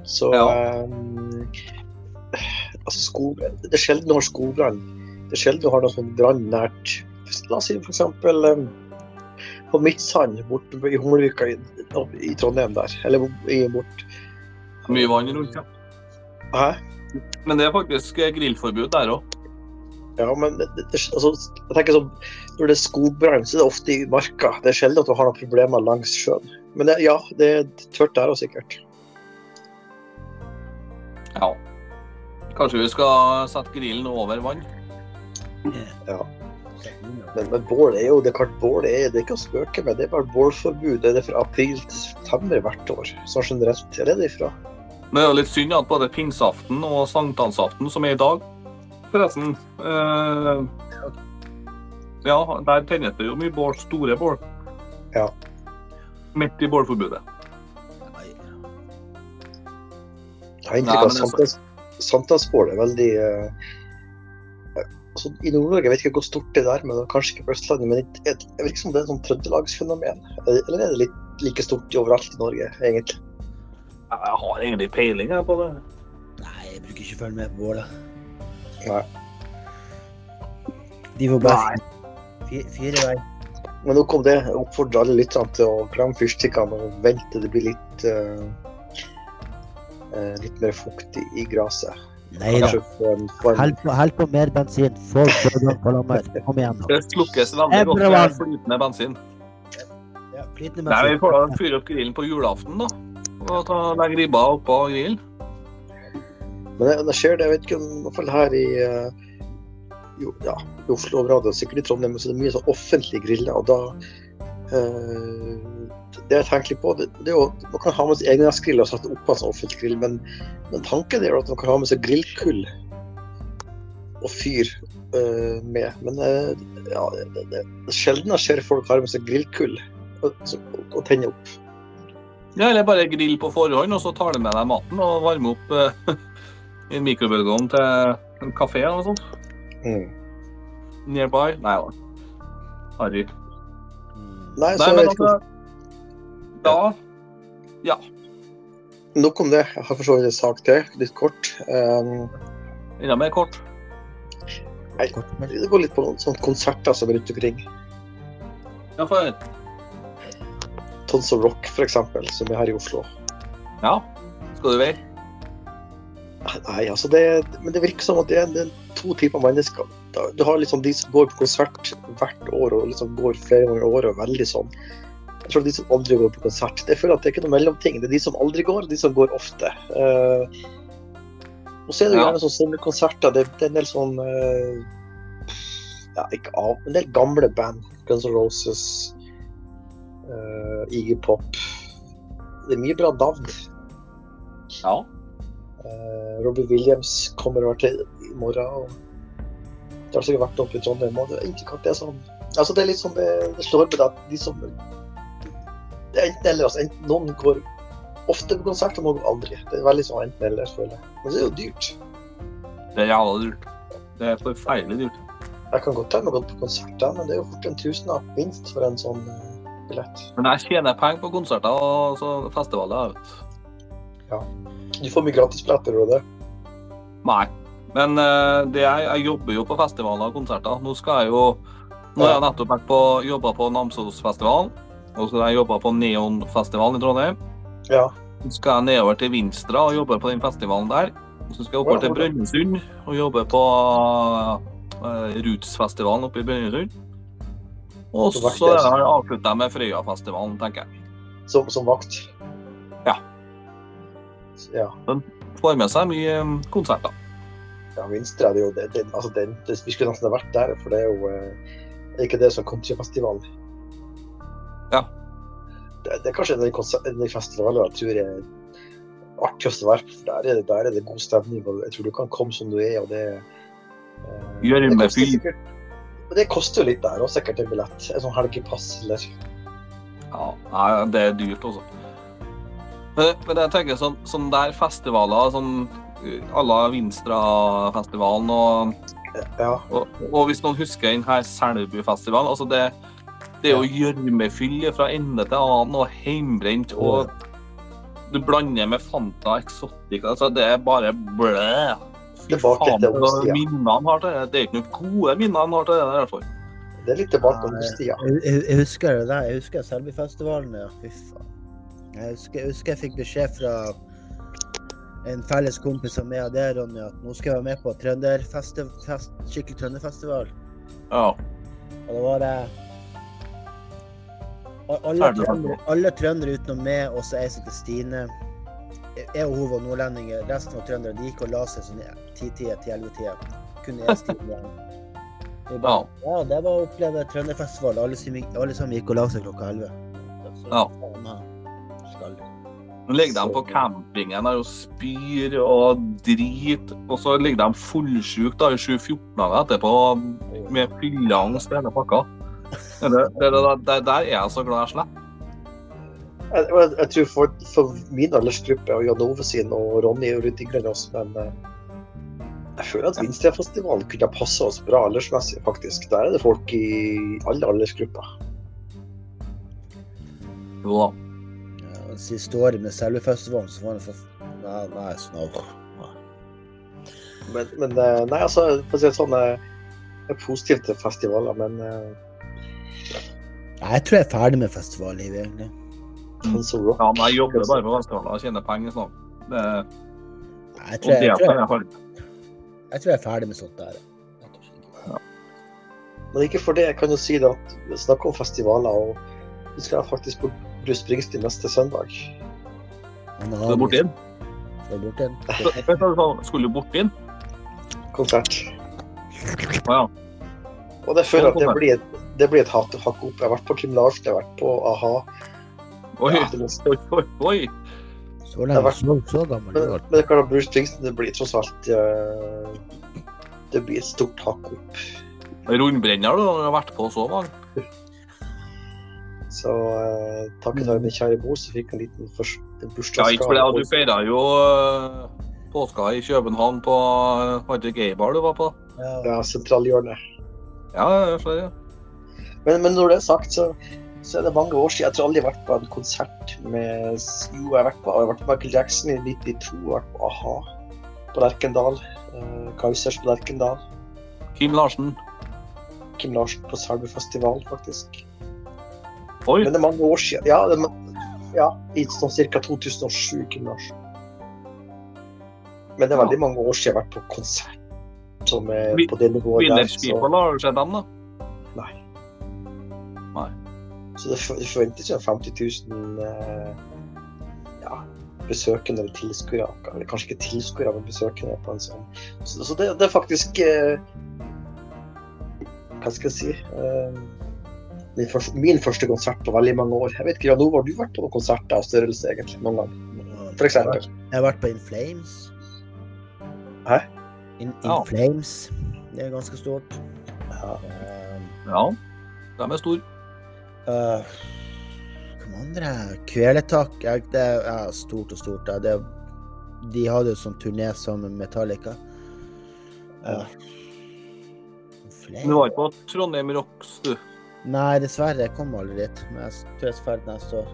Så
Ja.
eh, altså, skog, Det er sjelden du har skogbrann det er sjelden du har noe sånn brann nært. La oss si for eksempel eh, på Midtsand borte i Hummelvika i, opp i Trondheim der. Eller i, bort
Mye vann rundt, ja.
Hæ?
Men det er faktisk eh, grillforbud der òg.
Ja, men det, det, altså, jeg tenker sånn, når det er skogbrann, så er det ofte i marka. Det er sjelden at du har noen problemer langs sjøen. Men det, ja, det er tørt der også sikkert.
Ja. Kanskje vi skal sette grillen over vann?
Sett mine opp.
Men, men bål er jo det er klart, bål er, det er ikke å spøke med. Det er bare bålforbud. Det er det fra april til september hvert år. Sånn generelt er det ifra.
Men det er jo litt synd at både pinseaften og sankthansaften, som er i dag Forresten eh, Ja, der tennes det jo mye bål, store bål.
Ja.
Midt i bålforbudet.
Ai.
Jeg har
Nei,
inntrykk av at
men altså-
samtals- samtalsbål er veldig eh, altså, I Nord-Norge jeg vet ikke hvor stort det er, men det er kanskje ikke på Østlandet. Men det- det det virker som det er et sånt trøndelagsfenomen. Eller er det litt like stort overalt i Norge, egentlig?
Jeg har egentlig peiling jeg, på det.
Nei, jeg bruker ikke å følge med på båla.
Nei.
De får bare fi- fire vei.
Men nok om det. Jeg oppfordrer alle lytterne til å glemme fyrstikkene og vente til det blir litt eh, eh, litt mer fuktig i gresset.
Nei da.
Kanskje få en, få en
Hell på, hell på mer bensin. Få flødene på lammer. Kom igjen, nå.
Det slukkes veldig godt med flytende bensin.
Ja, flytende
Nei, vi
bensin.
får da fyre opp grillen på julaften, da. Og ta, legge ribba oppå grillen.
Men det, det skjer, det. Jeg vet ikke om i hvert fall her i eh, jo, ja, i Oslo-området, og sikkert i Trondheim, så det er mye sånn offentlige griller. Og da eh, Det jeg tenker litt på, det, det er jo at man kan ha med seg egen griller og sette opp på en sånn offentlig grill, men, men tanken er jo at man kan ha med seg grillkull og fyr eh, med. Men eh, ja, det, det, det sjelden jeg ser folk har med seg grillkull og, og, og tenne opp.
Ja, eller bare grill på forhånd, og så tar du med deg maten og varmer opp eh, i mikrobølgeovnen til en kafé eller noe sånt. Nearby. Nei da. Harry.
Mm.
Nei, så
Nei,
jeg
men
vet ikke
altså Da
Nok om det. Jeg har for så vidt en sak til, litt kort. Um,
enda mer kort.
Kort, men-
det går litt på noen sånne konserter som er rundt omkring.
Ja, for
Tons of Rock, f.eks., som er her i Oslo.
Ja, skal du vei?
Nei, altså det, Men det virker som at det er, det er to typer mennesker. Da- Du har liksom de som går på konsert hvert år og liksom går flere ganger i året og er veldig sånn. Jeg tror de som aldri går på konsert. Jeg føler at det er ikke noe mellomting. Det er de som aldri går, og de som går ofte. Eh, og så er det jo
Ja.
gjerne sånn sommerkonserter. Det, det er en del sånn eh, Ja, ikke av, men det er gamle band. Guns N' Roses, uh, Iggy Pop. Det er mye bra navn.
Ja.
Eh, Robbie Williams kommer over til i morgen. og Det har sikkert vært oppe i Trondheim. og det er ikke at det er sånn. Altså, det er litt sånn det, det slår meg da, at de som det er enten eller. altså enten Noen går ofte på konsert, og noen går aldri. Det er veldig sånn enten eller, føler jeg. Men det er jo dyrt.
Det er jævla dyrt. Det er forferdelig dyrt.
Jeg kan godt hende gått på konsert, ja, men det er jo fort en tusenlapp minst for en sånn eh, billett.
Men jeg tjener penger på konserter og så festivaler. jeg vet.
Du får mye gratisbilletter, gjør du det?
Nei. Men eh, det jeg, jeg jobber jo på festivaler og konserter. Nå skal jeg jo Nå har jeg nettopp vært på, jobba på Namsosfestivalen. Og så har jeg jobba på Neonfestivalen i Trondheim.
Ja.
Så skal jeg nedover til Vinstra og jobbe på den festivalen der. Og så skal jeg oppover til Brønnøysund og jobbe på uh, Rootsfestivalen oppe i Brønnøysund. Og
Så vært
så
det, altså.
avslutter jeg med Frøyafestivalen, tenker jeg.
Som, som vakt?
Ja.
Ja.
Får med seg mye eh, konserter.
Ja, Vinstra det er jo det, det, altså det, det, Vi skulle nesten ha vært der, for det er jo eh, er ikke det som countryfestival.
Ja.
Det, det er kanskje en av de konser- en av de festivalene jeg tror er artigst å være på. for Der er det, der er det god stemning. og Jeg tror du kan komme som du er, og det eh,
Gjør
det
med
koster
fyr.
sikkert- Men det koster jo litt der òg, sikkert en billett. En sånn helgepass eller
Ja, nei, det er dyrt, altså. Men, men jeg tenker sånn, sånn der festivaler, sånn eh, à la Vinstra-festivalen og
Ja.
Og, og hvis noen husker den her Selbufestivalen, altså det, det er jo gjørmefyll fra ende til annen og heimbrent og du blander med Fanta Exotic. Altså det er bare blæ. Fy
Tilbake
faen,
til
hva
ungdomstida.
minner han har til det. Det er ikke noen gode minner han har til det der, i hvert fall.
Det er litt tilbake
Nei.
om stia.
Jeg- Jeg, jeg husker det der. Jeg husker Selbyfestivalen. Ja. Fy faen. Jeg husker, jeg husker jeg fikk beskjed fra en felles kompis av meg og deg, Ronny, at nå skal jeg være med på trønderfesti- fest- skikkelig trønderfestival.
Ja.
Og det var det og alle
Ferdig.
trøndere, alle trøndere utenom meg og så ei som heter Stine. Jeg og hun var nordlendinger. Resten var trøndere. De gikk og la seg sånn i 10-tida til 11-tida. Kun én Stine igjen. Vi bare, ja, det var å oppleve trønderfestival. Alle, som gikk- alle sammen gikk og la seg klokka 11. Så,
Ja.
faen, ja. Skal.
Nå ligger de på campingen der og spyr og drit, og så ligger de fullsjuke da i 7-14 dager etterpå med fylleangst i hele pakka. Det, det, det, det, der er jeg så glad jeg slipper.
Jeg, jeg, jeg tror for, for min aldersgruppe og Jan Ove sin og Ronny er jo litt yngre enn oss, men eh, Jeg føler at Vinstedfestivalen kunne ha passa oss bra aldersmessig, faktisk. Der er det folk i alle aldersgrupper.
Jo da.
Ja, det Siste året med selve festivalen, så var det for Nei, nei, snart.
Men, men eh, nei, altså, for å si det sånn, eh, jeg er positiv til festivaler, men eh,
Nei, Jeg tror jeg er ferdig med festivallivet, egentlig.
Tons of sånn Rock
Ja, men jeg jobber bare på festivaler og tjener penger snart. Det,
Nei, Jeg
og
tror jeg, jeg,
det
tror
kan
jeg,
jeg holde.
jeg tror jeg er ferdig med sånt der.
Men ikke for det, jeg kan jo si det at vi snakker om festivaler, og vi skal faktisk på Bruce Springsteen neste søndag.
Han
Så bort inn.
Skal du bort inn?
Vet du hva, Skulle du bort inn?
Konsert.
Å ja.
Og det føler jeg at det blir et, det blir et hat- hakk opp. Jeg har vært på Kim Larsen, jeg har vært på a-ha.
Oi,
Ja, det er-
oi, oi. oi.
Så
Det har
lenge
vært-
så, så gammel
Men,
du var.
men det er klart at Bruce Springsteen det blir tross alt eh, Det blir et stort hakk opp.
Rundbrenner du har vært på så mange.
Så eh, takket være min kjære mor, så fikk jeg en liten først- en
Ja, ikke for det.
bursdagsgave.
Du feira jo øh, påska i København på øh, Var det gaybar du var på?
Ja.
Ja, sentralhjørnet.
Ja, jeg ser det.
Men, men når det er sagt, så, så er det mange år siden. Jeg tror aldri jeg har vært på en konsert med Jo, jeg har vært på, jeg har vært på Michael Jackson i 92, jeg har vært på a-ha på Lerkendal. eh, Kaizers på Lerkendal.
Kim Larsen.
Kim Larsen på Selbu festival, faktisk.
Oi,
Men det er mange år siden. Ja, det er, ma- ja i sånn ca. 2007, Kim Larsen. Men det er veldig mange år siden jeg har vært på konsert som er
Vi-
på det nivået der.
Winners
Så,
People, har du sett dem, da?
nei.
Nei.
Så det for- det forventes jo 50 000 eh, ja, besøkende eller tilskuere. Eller kanskje ikke tilskuere, men besøkende på en sånn. Så, så det, det er faktisk eh, Hva skal jeg si? Eh, min, første, min første konsert på veldig mange år. Jeg vet ikke, Jan Ove, har du vært på noen konsert av størrelse egentlig noen gang? For eksempel.
Jeg har vært på In Flames.
Hæ?
In, In
Ja.
Flames. Det er ganske stort.
Ja.
Eh,
Ja. De er store.
eh, Hvem andre? Kveletak. Jeg, det er ja, stort og stort. ja. Det, de hadde jo sånn turné sammen med Metallica. Eh, In Flames?
Du var ikke på Trondheim Rocks, du.
Nei, dessverre. Jeg kom aldri dit. Men jeg tror jeg skal ferdig neste år.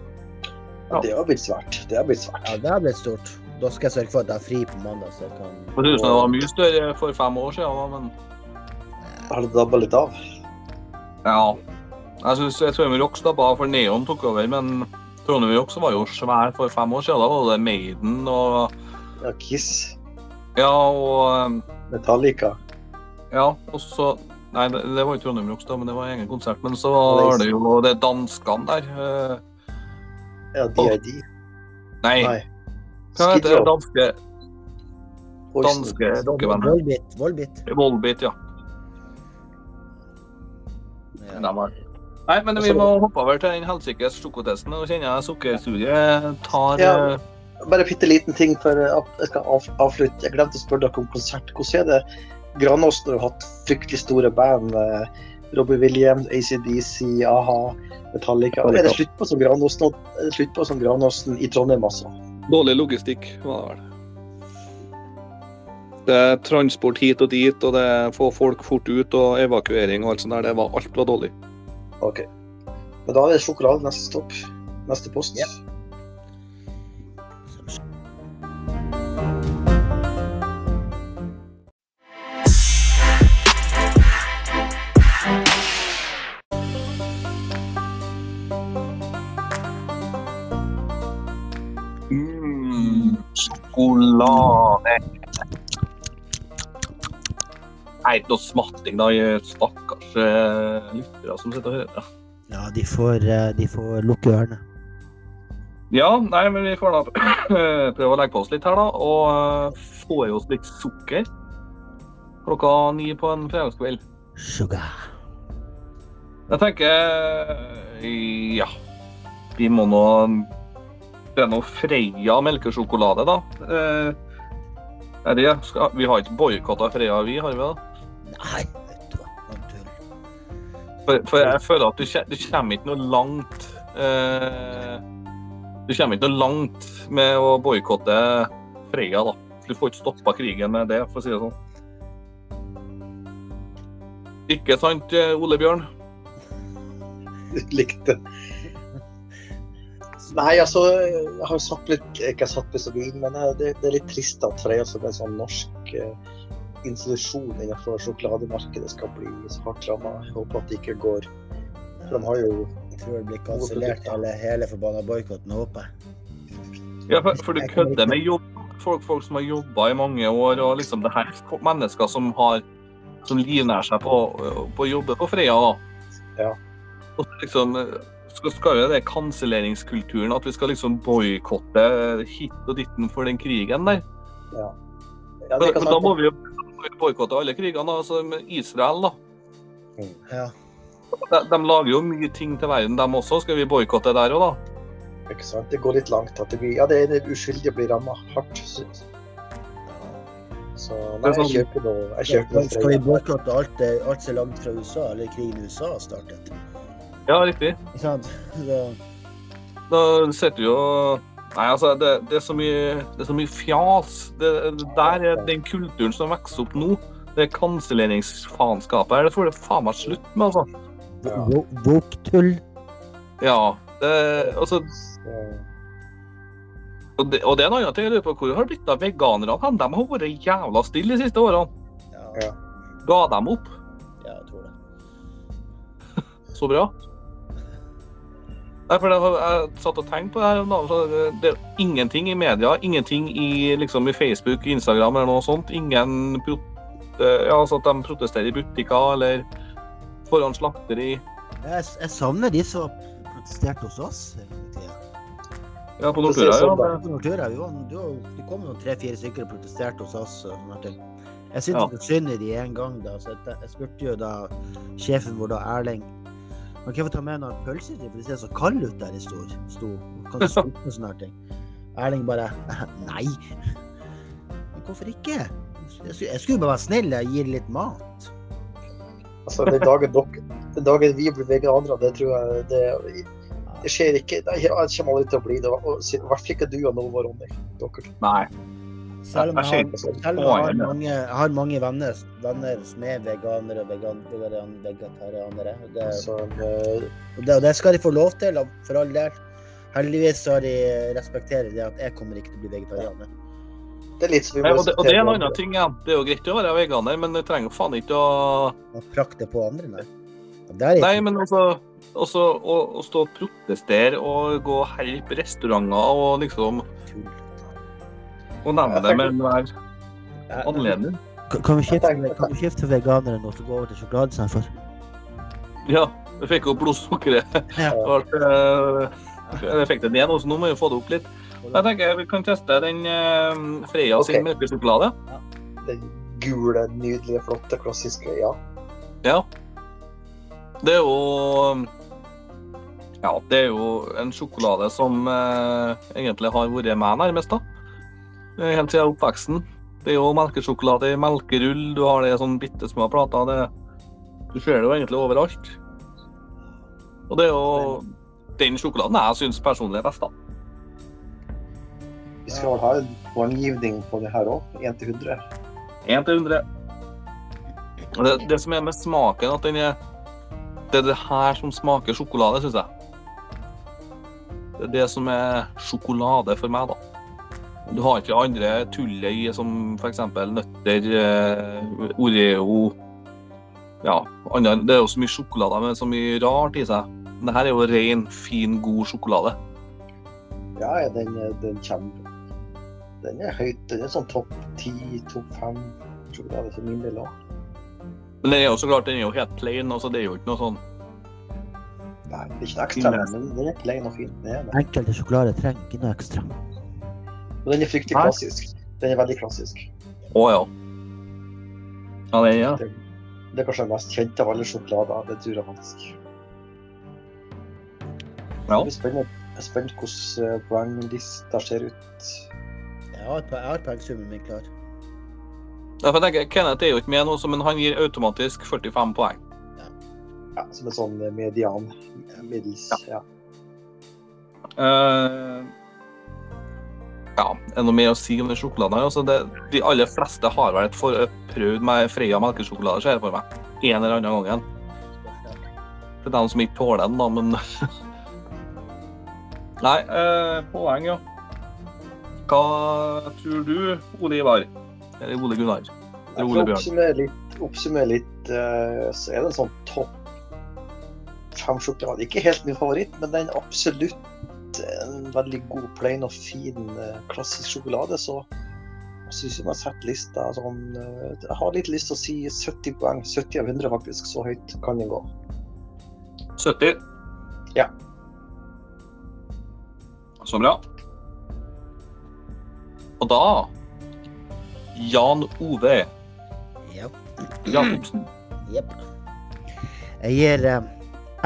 Ja.
Det har blitt svært. Det har blitt svært.
Ja, det har blitt stort. Da skal jeg sørge for at jeg har fri på mandag, så jeg kan
Jeg trodde det var mye større for fem år siden, da, men
Har det dabba litt av?
Ja. Jeg synes jeg Trondheim Rock slappa av, for Neon tok over, men Trondheim Rock var jo svær for fem år siden. Da var det Maiden og
Ja, Kiss,
Ja, og um,
Metallica,
Ja, og så Nei, det, det var jo Trondheim Rock, da, men det var egen konsert. Men så var det jo det danskene der. eh,
ja, DID.
Nei,
Nei.
hva
Skid
heter det
Row,
danske
Poison.
danske rockebandet?
Volbit. Volbit.
Volbeat, ja.
Ja.
Dem var- Nei, men vi må hoppe over til den helsikes sjokotesten. Nå kjenner jeg sukkersuget tar
Ja.
eh,
Bare bitte liten ting før jeg av- jeg skal av- avslutte. Jeg glemte å spørre dere om konsert. Hvordan er det Granås når du har hatt fryktelig store band? eh, Robbie Williams, ACDC, a-ha, Metallica. Er det slutt på som Granås nå? Er det slutt på som Granåsen i Trondheim, altså?
Dårlig logistikk, var det vel. Det er transport hit og dit, og det er få folk fort ut og evakuering og alt sånt der. Det var, alt var dårlig.
Ok. Men da er det sjokolade neste stopp. Neste post.
Ja.
Mm, sjokolade. Nei, ikke noe smatting, da. jeg- Stakkars eh, lyttere som sitter og hører.
Ja, de får, eh, de får lukke ørene.
Ja, nei, men vi får da prøve å legge på oss litt her, da. Og eh, få i oss litt sukker klokka ni på en fredagskveld.
Sugar.
Jeg tenker eh, ja. Vi må nå Det er nå Freia melkesjokolade, da. Eh, Er det, skal, vi har ikke boikotta Freia, vi, har vi det?
Nei, vet du hva. Noe tull.
For, for jeg føler at du, kje- du kommer ikke noe langt eh, Du kommer ikke noe langt med å boikotte Freia, da. Du får ikke stoppa krigen med det, for å si det sånn. Ikke sant, eh, Ole Bjørn?
likte. Nei, altså, jeg har jo sagt litt Ikke jeg har sagt det så mye, men eh, det, det er litt trist at Freia, som er en sånn norsk eh, institusjon innenfor sjokolademarkedet, skal bli så hardt ramma. Jeg håper at det ikke går. For de har jo
Jeg tror det blir kansellert hele, hele forbanna boikotten, håper jeg.
Ja, for, for du kødder med jobb. Folk, folk som har jobba i mange år, og liksom det her er mennesker som har som livnærer seg på, på å jobbe på Freia. da.
Ja.
Og så liksom skal, skal jo det kanselleringskulturen, at vi skal liksom boikotte hit og ditten for den krigen der.
ja, det
Men,
kan
men da må
være-
vi jo boikotte alle krigene, da, altså med Israel, da.
Mm.
Ja.
De, de lager jo mye ting til verden, dem også. Skal vi boikotte der òg, da?
ikke sant? Det går litt langt. At det blir, ja, det, det uskyldige blir ramma hardt. Så, så nei, jeg
Det sånn-
kjøper noe. Jeg kjøper noe
Skal vi
Freia.
boikotte alt, det- alt som er lagd fra USA, eller krigen i USA har startet?
Ja, riktig.
Ikke sant? Så,
Da sitter jo Nei, altså, det, det, er så mye, det er så mye fjas. Det, det der er den kulturen som vokser opp nå. Det kanselleringsfaenskapet her, det får det faen meg slutt med, altså.
Ja.
Wo- Woke-tull.
Ja. Det, altså,
Så-
og, det, og det er en annen ting jeg lurer på. Hvor har det blitt av veganerne hen? De har vært jævla stille de siste årene.
Ja,
Ja.
Ga dem opp?
ja, jeg tror det.
Så bra. Nei, for det, Jeg satt og tenkte på det her om dagen. så det- Det er ingenting i media, ingenting i, liksom, i Facebook, Instagram eller noe sånt. Ingen pro eh, ja, altså at de protesterer i butikker eller foran slakteri.
Jeg, jeg savner de som protesterte hos oss hele tida.
Ja, på
Det
Nordkura,
ser
ja. men-
sånn
På Nortura, vi var, det, var, det kom noen tre-fire stykker og protesterte hos oss. og sånn her til. Jeg syntes
Ja.
det var synd i de en gang, da, så jeg, jeg spurte jo da sjefen vår, da Erling Man kan få ta med noen pølser til, for det ser så kaldt ut der det står. Sto. Man Kan slutte sånne her ting. Erling bare Nei! Men hvorfor ikke? Jeg skulle, jeg skulle bare være snill og gi dem litt mat.
Altså, den dagen, dere, den dagen vi blir veganere, det tror jeg det, det skjer ikke. Nei, jeg kommer aldri til å bli det. Og si- I hvert fall ikke du og Nova Ronny. Dere. altså,
Nei.
Selv om
Jeg
jeg
ser
har Selv
ikke
om jeg har
poenget.
mange, jeg har mange venner, venner som er veganere og vegan, vegan, vegetarianere. Og det,
Så, eh,
og, det, og det skal de få lov til, og for all del. Heldigvis har de respekterer det at jeg kommer ikke til å bli vegetarianer.
det er litt som vi
Nei, Og det, og det er en
respektere
annen ting. Ja. Det er jo greit å være veganer, men du trenger jo faen ikke å
Og prakte på andre, nei. Og Der er
Nei,
ikke-
men altså også å, å stå og protestere og gå og herpe restauranter og liksom
Tull.
Og nevne det med enhver anledning.
Eh, Kan- Kan vi
tenker-
kan vi skifte til veganere nå, så går vi over til sjokoladesamfunn?
Ja, vi fikk opp blodsukkeret.
Ja.
Det var, eh, Jeg fikk det ned, nå, så nå må vi få det opp litt. Jeg tenker vi kan teste den eh, Freia sin
Ok.
melkesjokolade.
Den gule, nydelige, flotte, klassiske. Ja.
Ja. Det er jo Ja, det er jo en sjokolade som eh, egentlig har vært meg nærmest, da. Eh, Helt siden oppveksten. Det er jo melkesjokolade i melkerull, du har det i sånne bitte små plater. Det, du ser det jo egentlig overalt. Og det er jo den sjokoladen jeg syns personlig er best, da.
Vi skal vel ha en formgivning på det her òg. 1 til 100.
1 til 100. Og Det, det som er med smaken, at den er Det er det her som smaker sjokolade, syns jeg. Det er det som er sjokolade for meg, da. Du har ikke andre tullet i, som f.eks. nøtter, eh, Oreo Ja, andre, det er jo så mye sjokolade med så mye rart i seg. Men det her er jo ren, fin, god sjokolade.
Ja, ja, den, er- den kommer. Den er høyt. Den er sånn topp 10, topp 5. Tror jeg det er for min del òg.
Men den er jo så klart, den er jo helt plain. altså Det er jo ikke noe sånn
Nei, det er ikke noe ekstra, men den er plain og fin. Det er det.
Enkelte sjokolader trenger ikke noe ekstra.
Men den er fryktelig
Nei.
klassisk. Den er veldig klassisk.
Å ja. Ja, den er
Det er kanskje den mest kjente av alle sjokolader. Det tror jeg faktisk.
Ja.
Jeg er spent, jeg er spent hvordan eh, poenglista ser ut.
Jeg har, jeg har poengsummen min klar.
Ja, for jeg tenker, Kenneth er jo ikke med nå, så- men han gir automatisk 45 poeng.
Ja, som en sånn eh, median. eh, Middels. Ja.
Eh, ja, er det noe mer å si om den sjokoladen her? Altså, det, de aller fleste har vel et for, prøvd med Freia melkesjokolade, ser jeg for meg. en eller annen gangen. Til dem som ikke tåler den, da, men Nei, eh, poeng, ja. Hva tror du, Ole Ivar? Eller Ole Gunnar? Eller
For å
Ole Bjørn?
oppsummere litt, oppsummere litt eh, så er det en sånn topp fem sjokolade. Ikke helt min favoritt, men den er absolutt en veldig god, plain og fin eh, klassisk sjokolade. Så jeg syns jeg har sett lista sånn eh, Jeg har litt lyst til å si 70 poeng. 70 av 100, faktisk. Så høyt kan den gå.
70?
Ja.
Så bra. Og da Jan Ove
Ja.
Jacobsen.
Jepp. Jeg gir eh,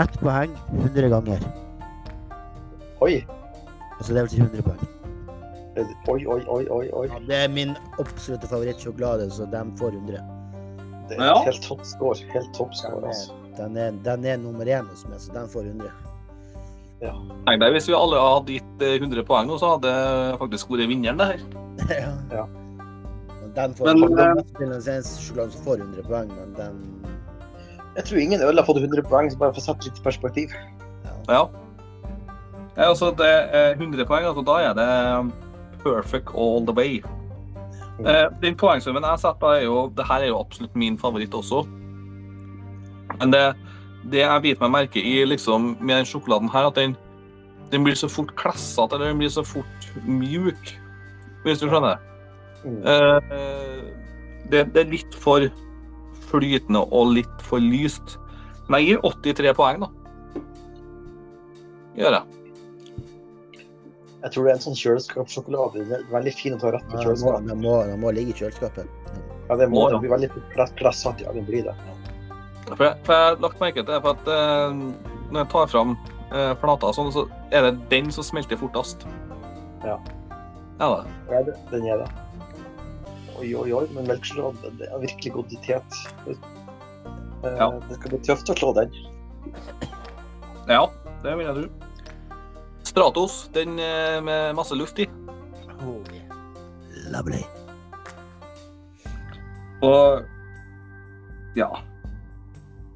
ett poeng 100 ganger.
Oi,
Altså det vil si 100 poeng.
eh, oi, oi, oi. oi, oi.
Ja, det er min absolutte favorittsjokolade, så den får 100.
Det er
Ja.
helt topp score. Helt topp score,
Den er,
altså.
den, er, den er nummer én hos meg, så den får 100.
Tenk deg hvis vi alle hadde gitt eh, 100 poeng, nå, så hadde det faktisk vært vinneren, det her.
Ja.
Men Den får,
Men,
den
eh,
mestspillende eneste sjokoladen som får 100 poeng, men den
Jeg tror ingen øl har fått 100 poeng, så bare for å sette litt perspektiv.
ja.
Ja. ja altså, det er 100 poeng, altså da er det perfect all the way. Eh, den poengsummen jeg setter, da er jo det her er jo absolutt min favoritt også. Men det, det jeg biter meg merke i liksom, med den sjokoladen her, at den, den blir så fort klessete, eller den blir så fort mjuk, hvis du skjønner.
Mm.
Eh, det, det er litt for flytende og litt for lyst. Men jeg gir 83 poeng, da. Gjør jeg.
Jeg tror det er en sånn kjøleskapssjokolade. Den er Veldig fin å ta rett på
Den må,
kjøleskapet.
den, må, den må ligge i kjøleskapet.
Ja, det må
Må, ja.
den bli veldig press- pressat. Ja, den blir det.
For jeg, for jeg har lagt merke til for at eh, når jeg tar fram eh, plata, og sånn, så er det den som smelter fortest.
Ja.
Ja da.
Ja, det- den er det. Oi, oi, oi, men melkesjokolade det er virkelig goditet. Det, eh,
Ja.
det skal bli tøft å slå den.
Ja, det vil jeg tro. Stratos, den eh, med masse luft i.
Oh, Lovely.
Og ja.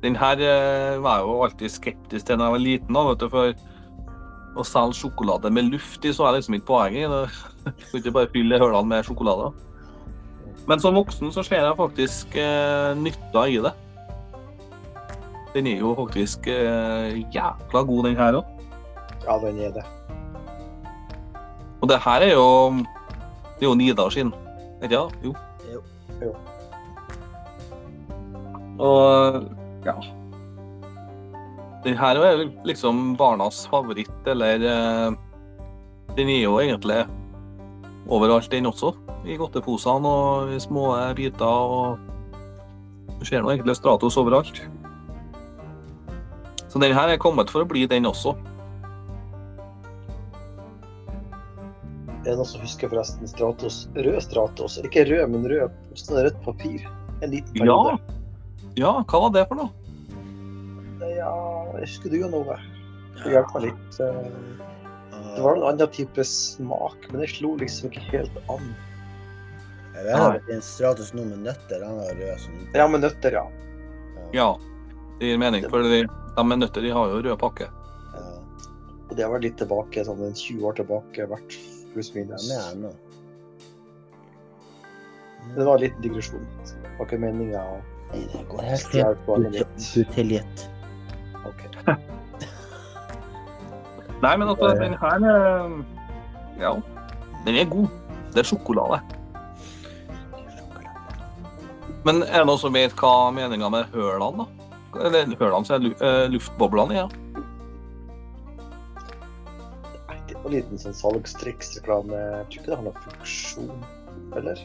Den her eh, var jeg jo alltid skeptisk til da jeg var liten. Da, vet du, for å selge sjokolade med luft i, så er liksom ikke poenget. Det- Du skal ikke bare fylle hullene med sjokolade. Men som voksen så ser jeg faktisk eh, nytta i det. Den er jo faktisk eh, jækla god, den her òg.
Ja, den er det.
Og det her er jo Det er jo Nidar sin. Vet ikke det? Jo.
Jo.
Jo.
Og ja. Den her er jo liksom barnas favoritt, eller eh, Den er jo egentlig overalt, den også. I godteposene og i små eh, biter og Du ser nå egentlig Stratos overalt. Så den her er kommet for å bli, den også.
Er det noen som husker forresten Stratos? Rød Stratos. Ikke rød, men rød. Sånn rødt papir. En liten
Ja.
periode.
ja, hva var det for noe?
Ja. jeg husker du jo noe? Det hjalp meg litt. eh, Det var en annen type smak, men det slo liksom ikke helt an.
Jeg vet at det er en Stratos nå med nøtter. Den var rød som
Ja, med nøtter, ja.
Ja, det gir mening, for de, de med nøtter de har jo rød pakke.
Ja,
Og det har vært litt tilbake, sånn en 20 år tilbake, vært pluss minus.
Den er ennå.
Det var en liten digresjon. Det var ikke meninga å
Nei, det går helt fint.
stjele poenget
Du
ditt.
er tilgitt.
Ok.
Nei, men altså,
Ja, ja.
den her eh, Ja, den er god. Det er sjokolade. Men er det noen som vet hva meninga med hølene, da? Eller hølene, så er lu eh, luftboblene i, ja.
Nei, Det var en liten sånn salgstriksreklame. Jeg tror ikke det har noen funksjon, eller?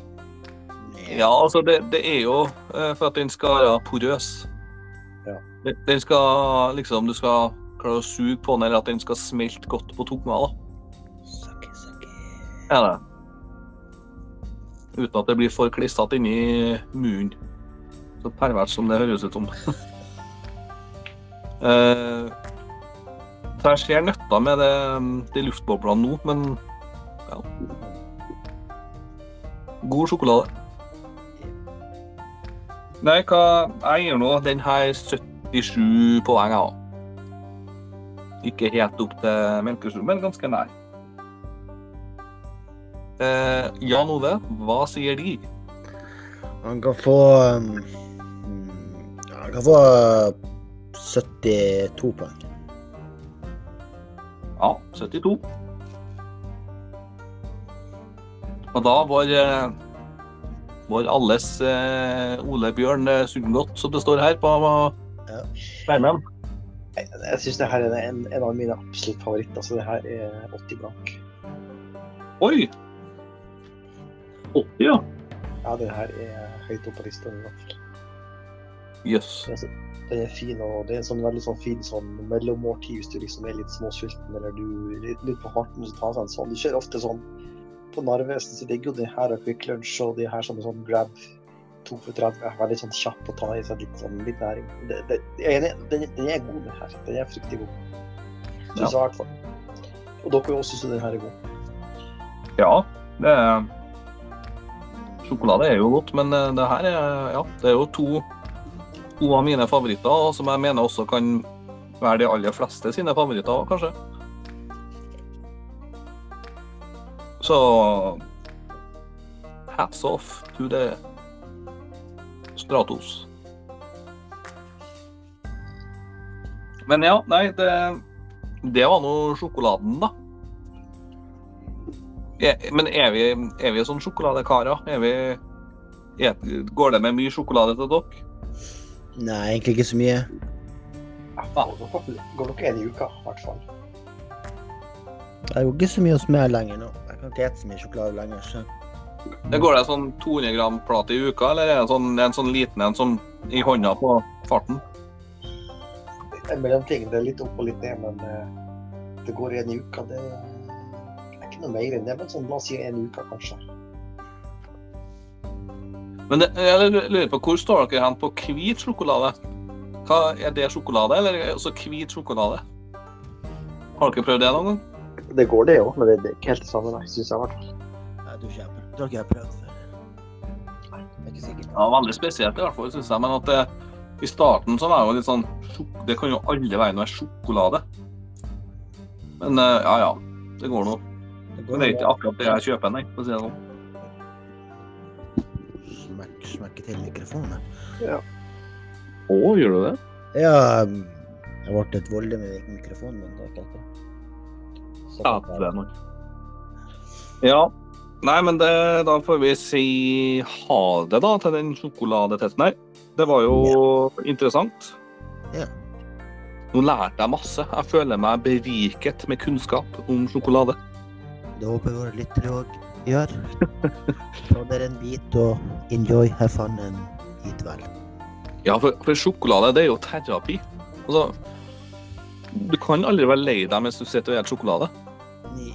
Ja, altså, det, det er jo eh, for at den skal være porøs.
Ja.
Den- Den skal liksom Du skal klare å suge på den, eller at den skal smelte godt på tunga, da.
Sucky, sucky.
er det. Uten at det blir for klissete inni munnen. Så pervert som det høres ut som. Eh, så jeg ser nøtta med det, de luftboblene nå, men ja. God sjokolade. Nei, hva Jeg gir nå den her 77 poeng, jeg, da. Ikke helt opp til Melkestuen, men ganske nær. Eh, Jan Ove, hva sier de?
Han kan få um, mm, ja, Han kan få uh, 72 poeng.
Ja, 72. Og da var, eh, var alles eh, Ole Bjørn eh, Sundgodt, som det står her på
Ja.
skjermen.
Jeg syns det her er en, en av mine absolutt favoritter. Altså, det her er 80 blank.
Oi! 80, ja.
Ja, den her er høyt oppe på lista. i hvert fall.
Jøss.
Den er så- Den er fin, og det er en sånn veldig sånn fin sånn mellommåltid hvis du liksom er litt småsulten eller du er litt, litt på farten. Så tar seg en sånn. Du kjører ofte sånn på Narvesen, så ligger jo det her og Quick Lunch og de her som en sånn grab 2 for 30 er veldig sånn kjapp å ta i seg litt sånn litt næring. Det, det, jeg er enig, den, den er god, den her. Den er fryktelig god. Synes
Ja.
jeg i hvert fall. Og dere også synes den her er god.
Ja. Det er... Sjokolade er jo godt, men eh, det her er Ja, det er jo to, to av mine favoritter, og som jeg mener også kan være de aller fleste sine favoritter, også, kanskje. Så Hats off to the Stratos. Men ja, nei, det, det var nå sjokoladen, da. Ja, men er vi, er vi sånn sjokoladekarer? Er vi, et, går det med mye sjokolade til dere?
Nei, egentlig ikke så mye.
Ja, Går dere- går dere en i uka, i hvert fall.
Jeg går ikke så mye hos meg lenger nå. Jeg kan ikke ete så mye sjokolade lenger. Så.
Det går det sånn 200 gram plate i uka, eller er det sånn, en sånn liten en som i hånda på farten?
En mellomting. Det er litt opp og litt ned, men eh, det går i en uke. Det er ikke noe mer enn det, men sånn, la oss si en uke, kanskje.
Men det, jeg lurer på, hvor står dere hen på hvit sjokolade? Hva, er det sjokolade, eller er det også hvit sjokolade? Har dere prøvd det noen gang?
Det går det òg, men det, det er ikke helt det samme, nei, syns jeg. i hvert fall.
Jeg tror ikke jeg har prøvd. tror ikke jeg har prøvd før. Jeg er ikke sikker.
Ja, veldig spesielt i hvert fall, synes jeg. Men at det, i starten så var det jo litt sånn sjok- Det kan jo alle veiene være sjokolade. Men eh, ja, ja. Det går nå.
Det
Men
går
Det er ikke akkurat det jeg kjøper, nei. for å si det sånn.
Smekk, smekke til mikrofonen. jeg.
Å, gjør du det?
Ja, um, jeg ble litt voldelig med mikrofonen min. Det er ikke alltid. Så-
eh,
Ja, det er nok. Ja. Nei, men det, da får vi si ha det, da, til den sjokoladetesten her. Det var jo interessant.
Ja.
Nå lærte jeg masse. Jeg føler meg beriket med kunnskap om sjokolade.
Det håper jeg våre lyttere òg gjør. Ta dere en bit og enjoy, have fun and eat well.
Ja, for, for sjokolade det er jo terapi. Altså, du kan aldri være lei deg mens du sitter og spiser sjokolade.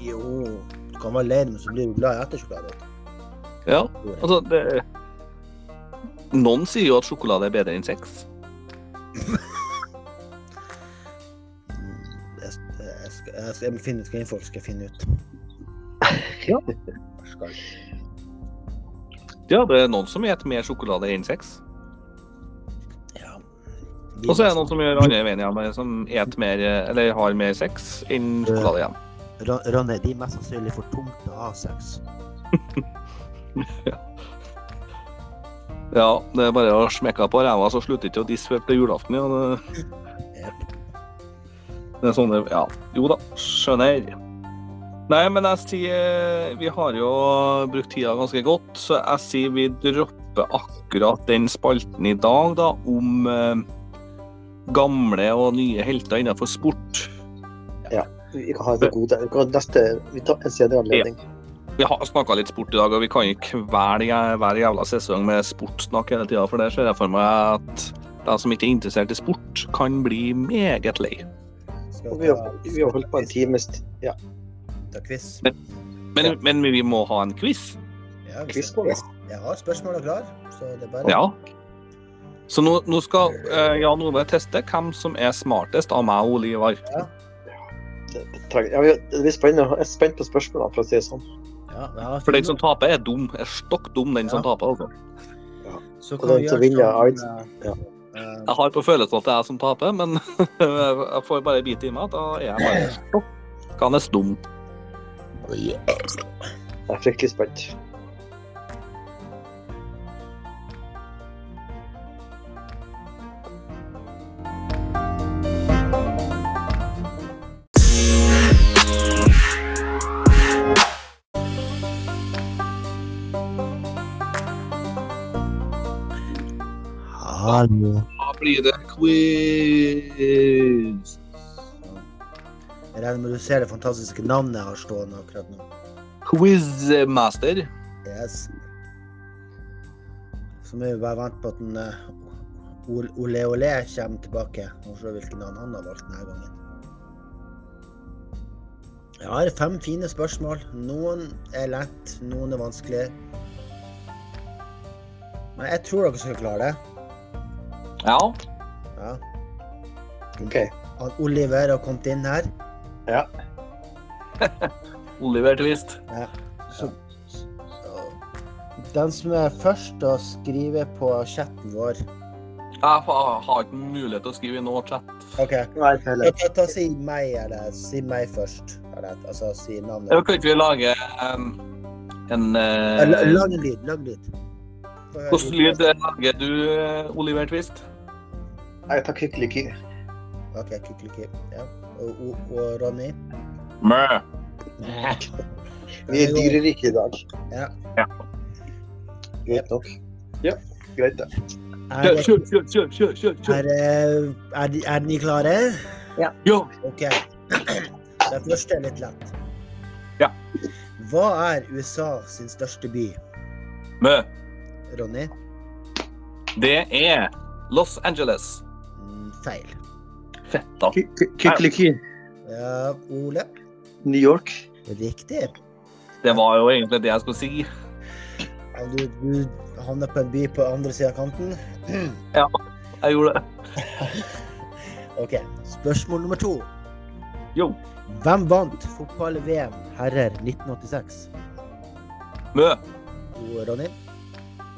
Jo, du kan være lei deg, men så blir du glad i ettersjokolade.
Ja,
tror jeg.
altså, det... Noen sier jo at sjokolade er bedre enn sex.
Mm, Jeg, jeg, skal, jeg, skal, jeg må finne ut hva folk skal jeg finne ut.
Ja.
Skal.
Ja, det er noen som spiser mer sjokolade enn sex.
Ja.
Og så er det noen som gjør andre veien igjen, som et mer, eller har mer sex enn sjokolade igjen.
Ron- Ronny, de er mest sannsynlig for tungt til å ha sex.
Ja, det er bare å smekke på ræva, så slutter ikke å disse før til julaften. Ja. Det,
Yep.
det er sånne, ja. Jo da, skjønner. Nei, men jeg sier eh, Vi har jo brukt tida ganske godt, så jeg sier vi dropper akkurat den spalten i dag, da, om eh, gamle og nye helter innenfor sport.
Vi kan ha et god Vi kan neste Vi tar en senere anledning.
Vi har snakka litt sport i dag, og vi kan ikke hver, hver jævla sesong med sportssnakk hele tida. For det ser jeg for meg at de som ikke er interessert i sport, kan bli meget lei.
Skal
Og vi har, vi har holdt på en times t- ja,
Ta quiz.
Men, men vi må ha en quiz.
Ja, vi
quiz
skal-
på det.
Jeg har spørsmåla klare, så det er bare
Ja. Så nå, nå skal eh, Jan Ove teste hvem som er smartest av meg og Olivar.
Det- det trenger- Ja, vi- det blir spennende. Jeg er spent på spørsmålene, for å si det sånn.
Ja, jeg har
For den som taper, er dum. Er stokk dum, den som
Ja.
taper. Altså.
funnet- Så
Og den som vinner,
som,
Arts-
eh,
ja.
eh,
Jeg har på følelsen at det er jeg som taper, men jeg får bare bite i meg. Da er jeg bare sjokk. Kan jeg stum.
eh,
Jeg er fryktelig spent.
Hallo.
Da blir det quiz.
Jeg regner med du ser det fantastiske navnet jeg har stående akkurat nå.
Quizmaster.
Yes. Så må vi bare vente på at den, eh, Ol- Ole Ole kommer tilbake. Og se hvilken navn han har valgt denne gangen. Jeg har fem fine spørsmål. Noen er lett, noen er vanskelig. Men jeg tror dere skal klare det.
Ja.
Ja.
OK.
Han Oliver har kommet inn her.
Oliver Twist.
Så, den som er først å skrive på chatten vår
Jeg fa- har ikke mulighet til å skrive i noe chat.
OK.
Nei, ikke heller.
Ta, ta, ta, si meg, eller si meg først. Eller, altså si
Jeg
navnet.
kan ikke vi lage em, en eh,
Eh, la- Lang lyd. Lang lyd. Få høre
Hvordan lyd lager du, eh, Oliver Twist?
Jeg tar kykeliky.
OK, kykeliky. Ja. Og, og, og Ronny?
Mø.
Vi er dyrerike i dag.
Ja.
Ja.
Greit nok. Ja, greit det.
Kjør,
Er,
kjør, kjør, kjør, kjør, kjør, kjør.
er, eh, er, de- er de klare?
Jo.
OK. Den første er litt lett.
Ja.
Hva er USA sin største by,
Mø.
Ronny?
Det er Los Angeles.
Mm, Feil.
Fetta.
Ky- ky- Kykeliky.
Ja, Ole.
New York.
Riktig.
Det var jo egentlig det jeg skulle si.
Ja, Du, du havner på en by på andre sida av kanten.
Jeg gjorde det.
OK. Spørsmål nummer to.
Jo.
Hvem vant fotball-VM herrer 1986?
Mø.
Jo, Ronny.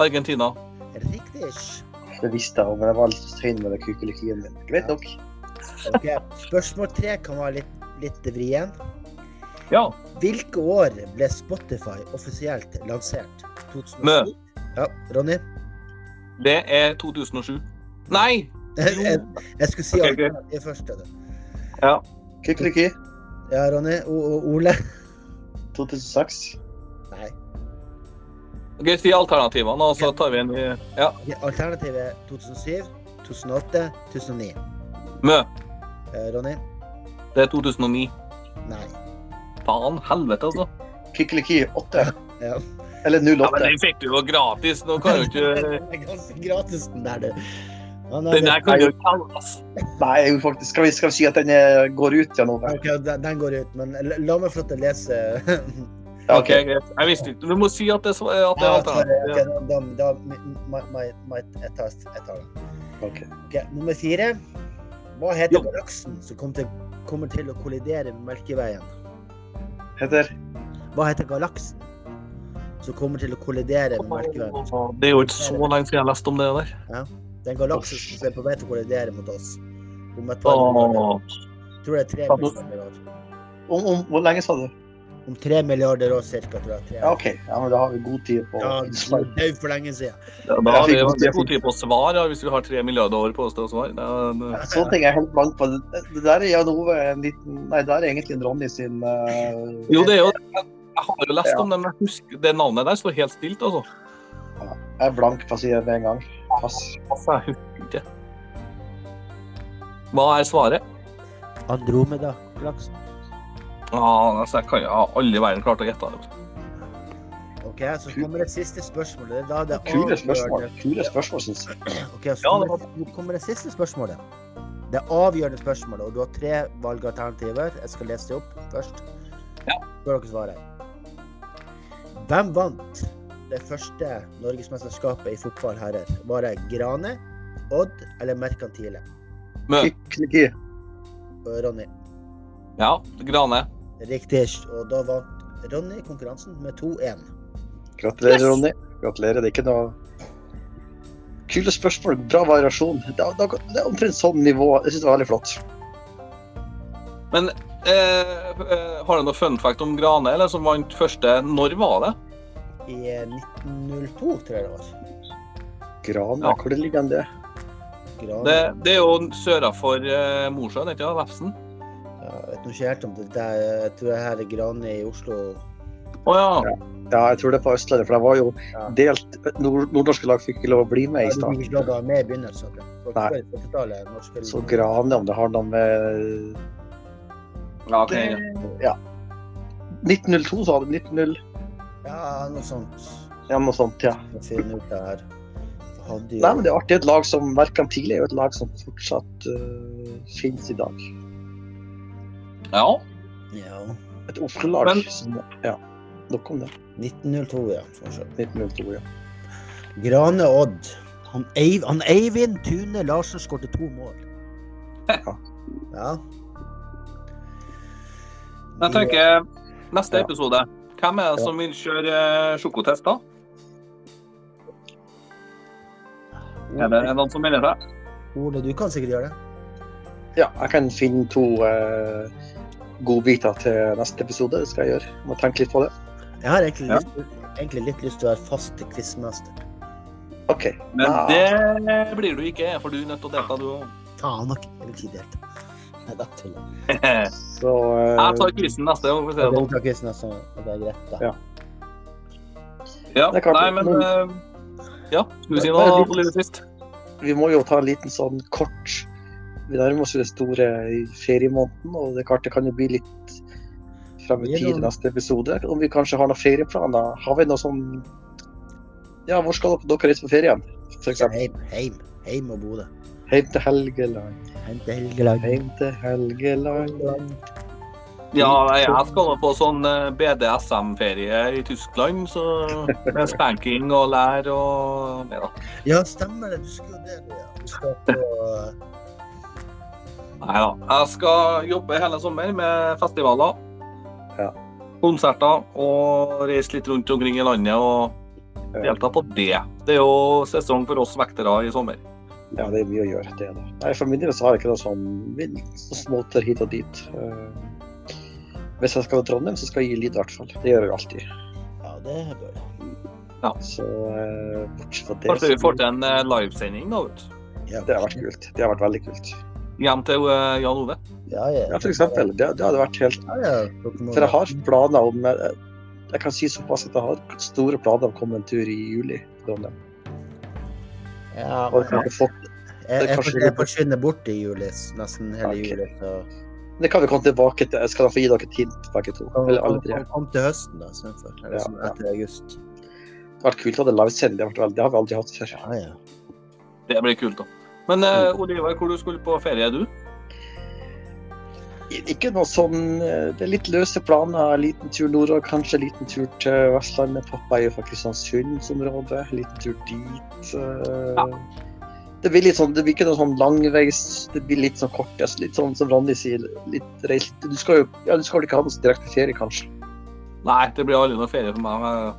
Argentina.
Riktig. ish.
Det visste jeg, men jeg var litt sein med den kykelikyen min. Greit nok.
Ok, Spørsmål tre kan være litt, litt vrien.
Ja.
Hvilke år ble Spotify offisielt lansert? 2007?
Mø.
Ja, Ronny?
Det er 2007. Nei!
Jeg, jeg skulle si
Ok,
alt det første. da.
Kykeliky
Ja, Ronny. O og Ole?
2006.
Nei.
Ok, Si alternativene, og så tar vi en i- Ja.
Alternativet 2007, 2008, 2009.
Mø.
Eh, Ronny?
Det er 2009.
Nei.
Faen helvete, altså.
Kykeliky 8.
Ja.
Eller
Ja, men
08.
Den fikk du jo gratis. Nå kan du ikke
Det er ganske gratis, den der, du. Han er-
Den der kan du jo kalle, ass.
Nei, jeg gjorde faktisk, skal vi, skal vi si at den eh, går ut igjen nå?
Ok, den, den går ut, men la- la meg få lov til å lese.
Ja,
OK, greit. Jeg visste ikke Du må si at det, er sva- at det er
Ja, sorry, ok,
alternativ.
da, da, da my, my, my, jeg, tar, jeg tar den.
Ok.
Ok, nummer fire. Hva
Jo.
heter galaksen som kommer til, kommer til å kollidere med Melkeveien?
Heter
Hva heter galaksen som kommer til å kollidere med Melkeveien?
Det er jo ikke så lenge siden jeg leste om det der.
Den galaksen som er på vei til å kollidere mot oss. Om et par milliarder
Åh.
år. Jeg tror det er tre
Åh.
milliarder år.
om, om, Hvor lenge sa du?
Om tre milliarder år cirka, tror jeg. Tre.
Ja, OK. Ja, men da har vi god tid på
Ja, du døde for lenge siden.
Ja, Da har vi
Jeg fikk-
det er god tid på svar, ja, hvis vi har tre milliarder år på oss til å svare. Det er- eh, det-
Sånne ting er jeg helt blank på. Det, det der er Jan Ove en liten Nei, det der er egentlig en Ronny sin eh,
Jo, det er jo Jeg har jo lest om det, men jeg husker det navnet der står helt stilt, altså.
Jeg er blank, for å si det med en gang. Pass.
Altså, jeg husker ikke. Hva er svaret?
Andromeda. Galaksen.
Ah, altså, jeg kan jo jeg har aldri i verden klart å gjette det.
Ok, så kommer det siste spørsmålet. Det er Da det
Kule spørsmål,
avgjørende-
kule spørsmål synes jeg.
Ok, så
Ja, det
kommer, nå kommer det siste spørsmålet. Det avgjørende spørsmålet, og du har tre valgalternativer. Jeg skal lese det opp først.
Ja.
Før dere svarer. Hvem vant det første norgesmesterskapet i fotball herrer? Var det Grane, Odd eller Merkantile?
Mø.
Kykeliky.
Og Ronny.
Ja, Grane.
Riktig. Og da vant Ronny konkurransen med 2-1.
Gratulerer,
Yes!
Ronny. Gratulerer. Det er ikke noe Kule spørsmål, bra variasjon. Det er, det er omtrent sånn nivå. Jeg syns det var veldig flott.
Eh, eh, har du noe fun fact om Grane, eller som vant første Når var det?
I eh, 1902, tror jeg det var.
Gran,
Ja.
hvor ligger den det?
Gran-
Det, det er jo søra for eh, Mosjøen, ikke sant? Vefsn?
Ja, Eh, jeg vet nå ikke helt om det der. Jeg tror det her er Grane i Oslo.
Å ja.
Ja, jeg tror det er på Østlandet, for det var jo
Ja.
delt nord Nordnorske lag fikk ikke lov å bli
Ja,
med i
du fikk
starten.
ikke lov til å være med i begynnelsen. tror jeg. Det var
Nei.
før 40-tallet, norske-
Så Grane, om det har noe med
ja ok.
Ja. 1902, sa du? 1900?
Ja, noe sånt.
Ja, noe sånt, ja.
Må finne ut det her. Det Hadde jo...
Nei, men det er artig. Et lag som Verkan tidlig er jo et lag som fortsatt øh, finnes i dag.
ja.
Ja.
Et Oslo-lag.
Men-
som- Ja. Nok om det.
1902, ja. Sånn sett.
1902, ja.
Grane Odd. Han, Eiv, han Eivind Tune Larsen skårte to mål.
Ja.
Ja.
Jeg tenker neste
Ja.
episode. Hvem er det
Ja.
som vil kjøre eh, sjokotest, da? Er det noen som melder seg?
Ole, du kan sikkert gjøre det.
ja. Jeg kan finne to øh, godbiter til neste episode. Det skal jeg gjøre. Må tenke litt på det.
Jeg har egentlig,
Ja.
lyst, egentlig litt lyst til å være fast quizmester.
OK.
Men
Ja.
det blir du ikke, for du er nødt til å delta, du òg.
Faen nok, jeg vil ikke delta. Nei, da tuller jeg.
Jeg
Så øh,
tar quizen neste gang. for å si
Jeg
det
vil
sånn.
ta quizen, altså. Det er greit, da.
Ja.
sånn. Ja,
Det er klart.
nei, men eh, Ja, skal du si noe på livet sist?
vi må jo ta en liten sånn kort Vi nærmer oss jo den store feriemåneden, og det er klart det kan jo bli litt frem i
Det er
tid i
noen-
neste episode. Om vi kanskje har noen ferieplaner? Har vi noe sånn Ja, hvor skal dere dere reise på ferien? For eksempel
Heim, heim, heim og Bodø.
hjem til Helgeland,
Heim til Helgeland.
hjem til Helgeland
Ja,
Mm.
nei, jeg skal på sånn eh, BDSM-ferie i Tyskland, så med spanking og lær og Nei da.
Ja, stemmer det. Du skulle jo det, du, ja. Du skal på
Nei da. Jeg skal jobbe hele sommer med festivaler,
Ja.
konserter og reise litt rundt omkring i landet og
Ja.
delta på det. Det er jo sesong for oss vektere i sommer.
Ja, det er mye å gjøre, det er det. Nei, for min del så har jeg ikke noe sånn vi- så småter hit og dit. Eh, Hvis jeg skal til Trondheim, så skal jeg gi litt, i hvert fall. Det gjør jeg jo alltid.
Ja, det bør du.
Så eh, bortsett fra det
Kanskje vi
så-
får til en eh, livesending da, vet du.
Ja,
Det har vært kult. Det har vært veldig kult.
Hjem til eh, Jan Ove.
Ja, ja.
Ja, for eksempel. Det, det hadde vært helt
Ja, ja. Dere må-
For jeg har planer om eh, Jeg kan si såpass at jeg har store planer om å komme en tur i juli. til Trondheim.
Ja,
Og
men
det kan vi få-
jeg,
det er
jeg,
kanskje
forsvinner- jeg forsvinner bort i juli, s- nesten hele
Ok.
juli. Så
det kan vi komme tilbake til. Jeg skal da få gi dere et hint, begge to. Eller alle tre.
Kom- kom til høsten, da, istedenfor. Eller
Ja,
sånn
ja.
etter august.
Det har vært kult å ha det livesending. Det, har vært veldig- det har vi aldri hatt før.
Ja, ja.
Det blir kult, da. Men eh,
Mm.
Oliver, hvor du skulle på ferie, er du?
I- Ikke noe sånn eh, Det er litt løse planer. En liten tur nordover, kanskje en liten tur til Vestlandet. Pappa er jo fra Kristiansundsområdet. En liten tur dit. eh.
Ja.
Det blir litt sånn, det blir ikke noe sånn langveis, det blir litt sånn kort. altså Litt sånn som Randi sier, litt reist. Du skal jo ja, du skal vel ikke ha noe så direkte ferie, kanskje?
Nei, det blir aldri noe ferie for meg.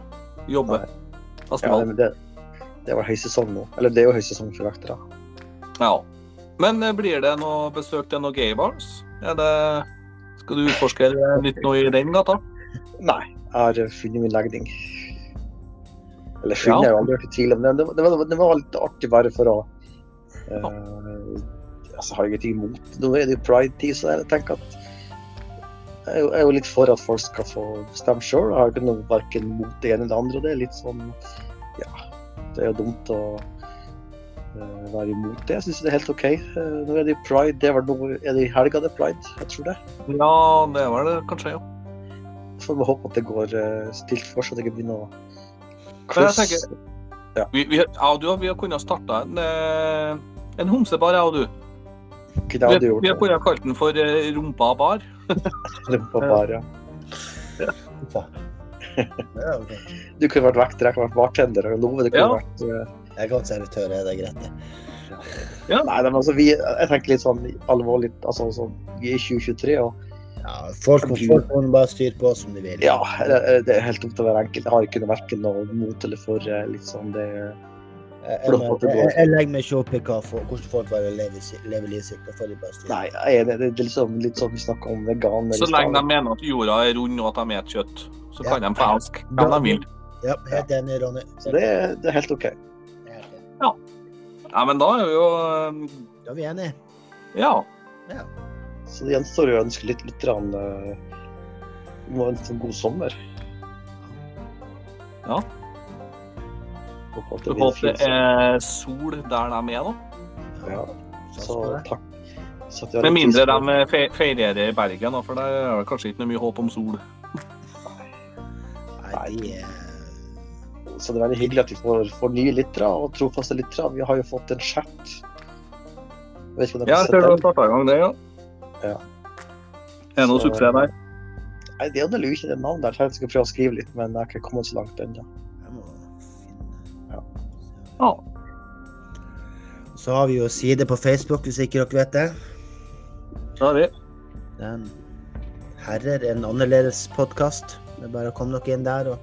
Jeg jobber.
Ja,
Festival.
men det, det var høysesong nå. Eller det er jo høysesong for vektere.
Ja. Men eh, blir det noe besøk til noen gaybars? Er det Skal du utforske nytt noe i den gata?
Nei, jeg har eh, funnet min legning. Eller funnet, jeg har aldri vært i tvil om det. Det var, det var, det var litt artig bare for å eh, altså, har jeg ingenting imot Nå er det jo pride-tid, så jeg tenker at jeg er jo- jeg er jo litt for at folk skal få bestemme sjøl. Jeg har ikke noe verken mot det ene eller det andre. og Det er litt sånn Ja, det er jo dumt å eh, være imot det. Jeg syns det er helt OK. Eh, nå er det jo pride. Det var noe, er det i helga det er pride? Jeg tror det.
Ja, det var det kanskje, ja.
Så vi håpe at det går eh, stilt for seg, at det ikke blir noe
Men jeg
kluss.
tenker- Vi, vi, ja, du, vi har kunnet starta en, eh, en homsebar, jeg og du.
Ikke det hadde
vi,
gjort
vi har
noe.
kunnet kalt den for eh, Rumpa bar.
Det var bare-
Ja, ok.
Du kunne vært vekter, jeg kunne vært bartender. og Love, det
Ja.
kunne vært... eh,
Jeg kan servitør, er det greit? det?
Nei, men altså, vi, jeg tenker litt sånn alvorlig, altså sånn, vi er i 2023, og
Ja, folk, folk må bare styre på som de vil.
ja, det, det er helt opp til hver enkelt. Jeg har ikke noe verken noe mot eller for, eh, litt sånn, det...
Jeg,
For da får
jeg,
det
jeg,
blåst.
jeg legger meg ikke opp i hva for, hvordan folk bare lever, si- lever livet sitt. Da får de bare styre.
Nei, jeg er enig. det er liksom litt sånn vi snakker om sånn. vegan.
Så lenge de mener at jorda er rund og at de spiser kjøtt, så
Ja.
kan de falske hvem de vil.
Ja, helt enig, Ronny.
Så det, er- det er helt OK.
Helt enig.
Ja, men da er vi jo eh,
Da er vi enige.
Ja.
Så det gjenstår jo å ønske litt, litt rann, eh, Vi må ønske en god sommer.
Ja.
Håper at
Så
det blir en
håper
fin
det
sommer.
er sol der de er, da.
Ja,
Sånn
så
skal det.
takk. Så at vi har
Med
en
mindre
tidsrom.
de fe- feirer i Bergen, da, for der er det kanskje ikke noe mye håp om sol.
Nei, de er
Så det er veldig hyggelig at vi får, får nye lyttere og trofaste lyttere. Vi har jo fått en chat. Jeg vet ikke om dere
Ja, jeg
har sett
ser du har
den.
starta i gang det, ja.
Ja.
Er det noe
Så-
suksess der?
Nei, det er jo ikke det navnet der. Jeg tenkte jeg skulle prøve å skrive litt, men jeg har ikke kommet så langt ennå.
Jeg må finne
Ja.
Ja.
Så har vi jo side på Facebook, hvis ikke dere vet det.
Det har vi.
Den herrer en annerledes podkast. Det er bare å komme dere inn der og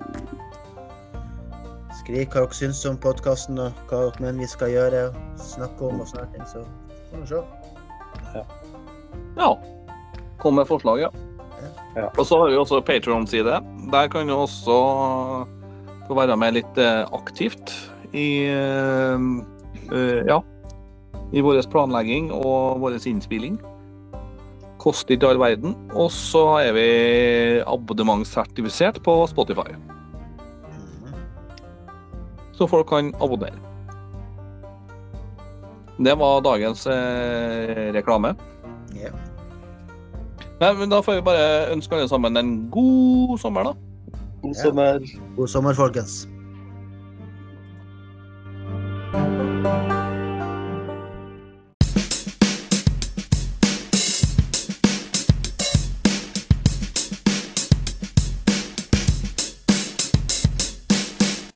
skriv hva dere syns om podkasten, og hva dere mener vi skal gjøre, og snakke om og sånne ting. Så får vi se.
Ja. Kom med forslag, ja.
Ja.
Og så har vi også Patreon-side. Der kan du også få være med litt eh, aktivt i eh, eh, Ja. I vår planlegging og vår innspilling. Koster ikke all verden. Og så er vi abonnementssertifisert på Spotify,
Mhm.
så folk kan abonnere. Det var dagens eh, reklame.
Ja.
Nei, men Da får vi bare ønske alle sammen en god sommer, da.
God
Ja.
sommer.
God sommer, folkens.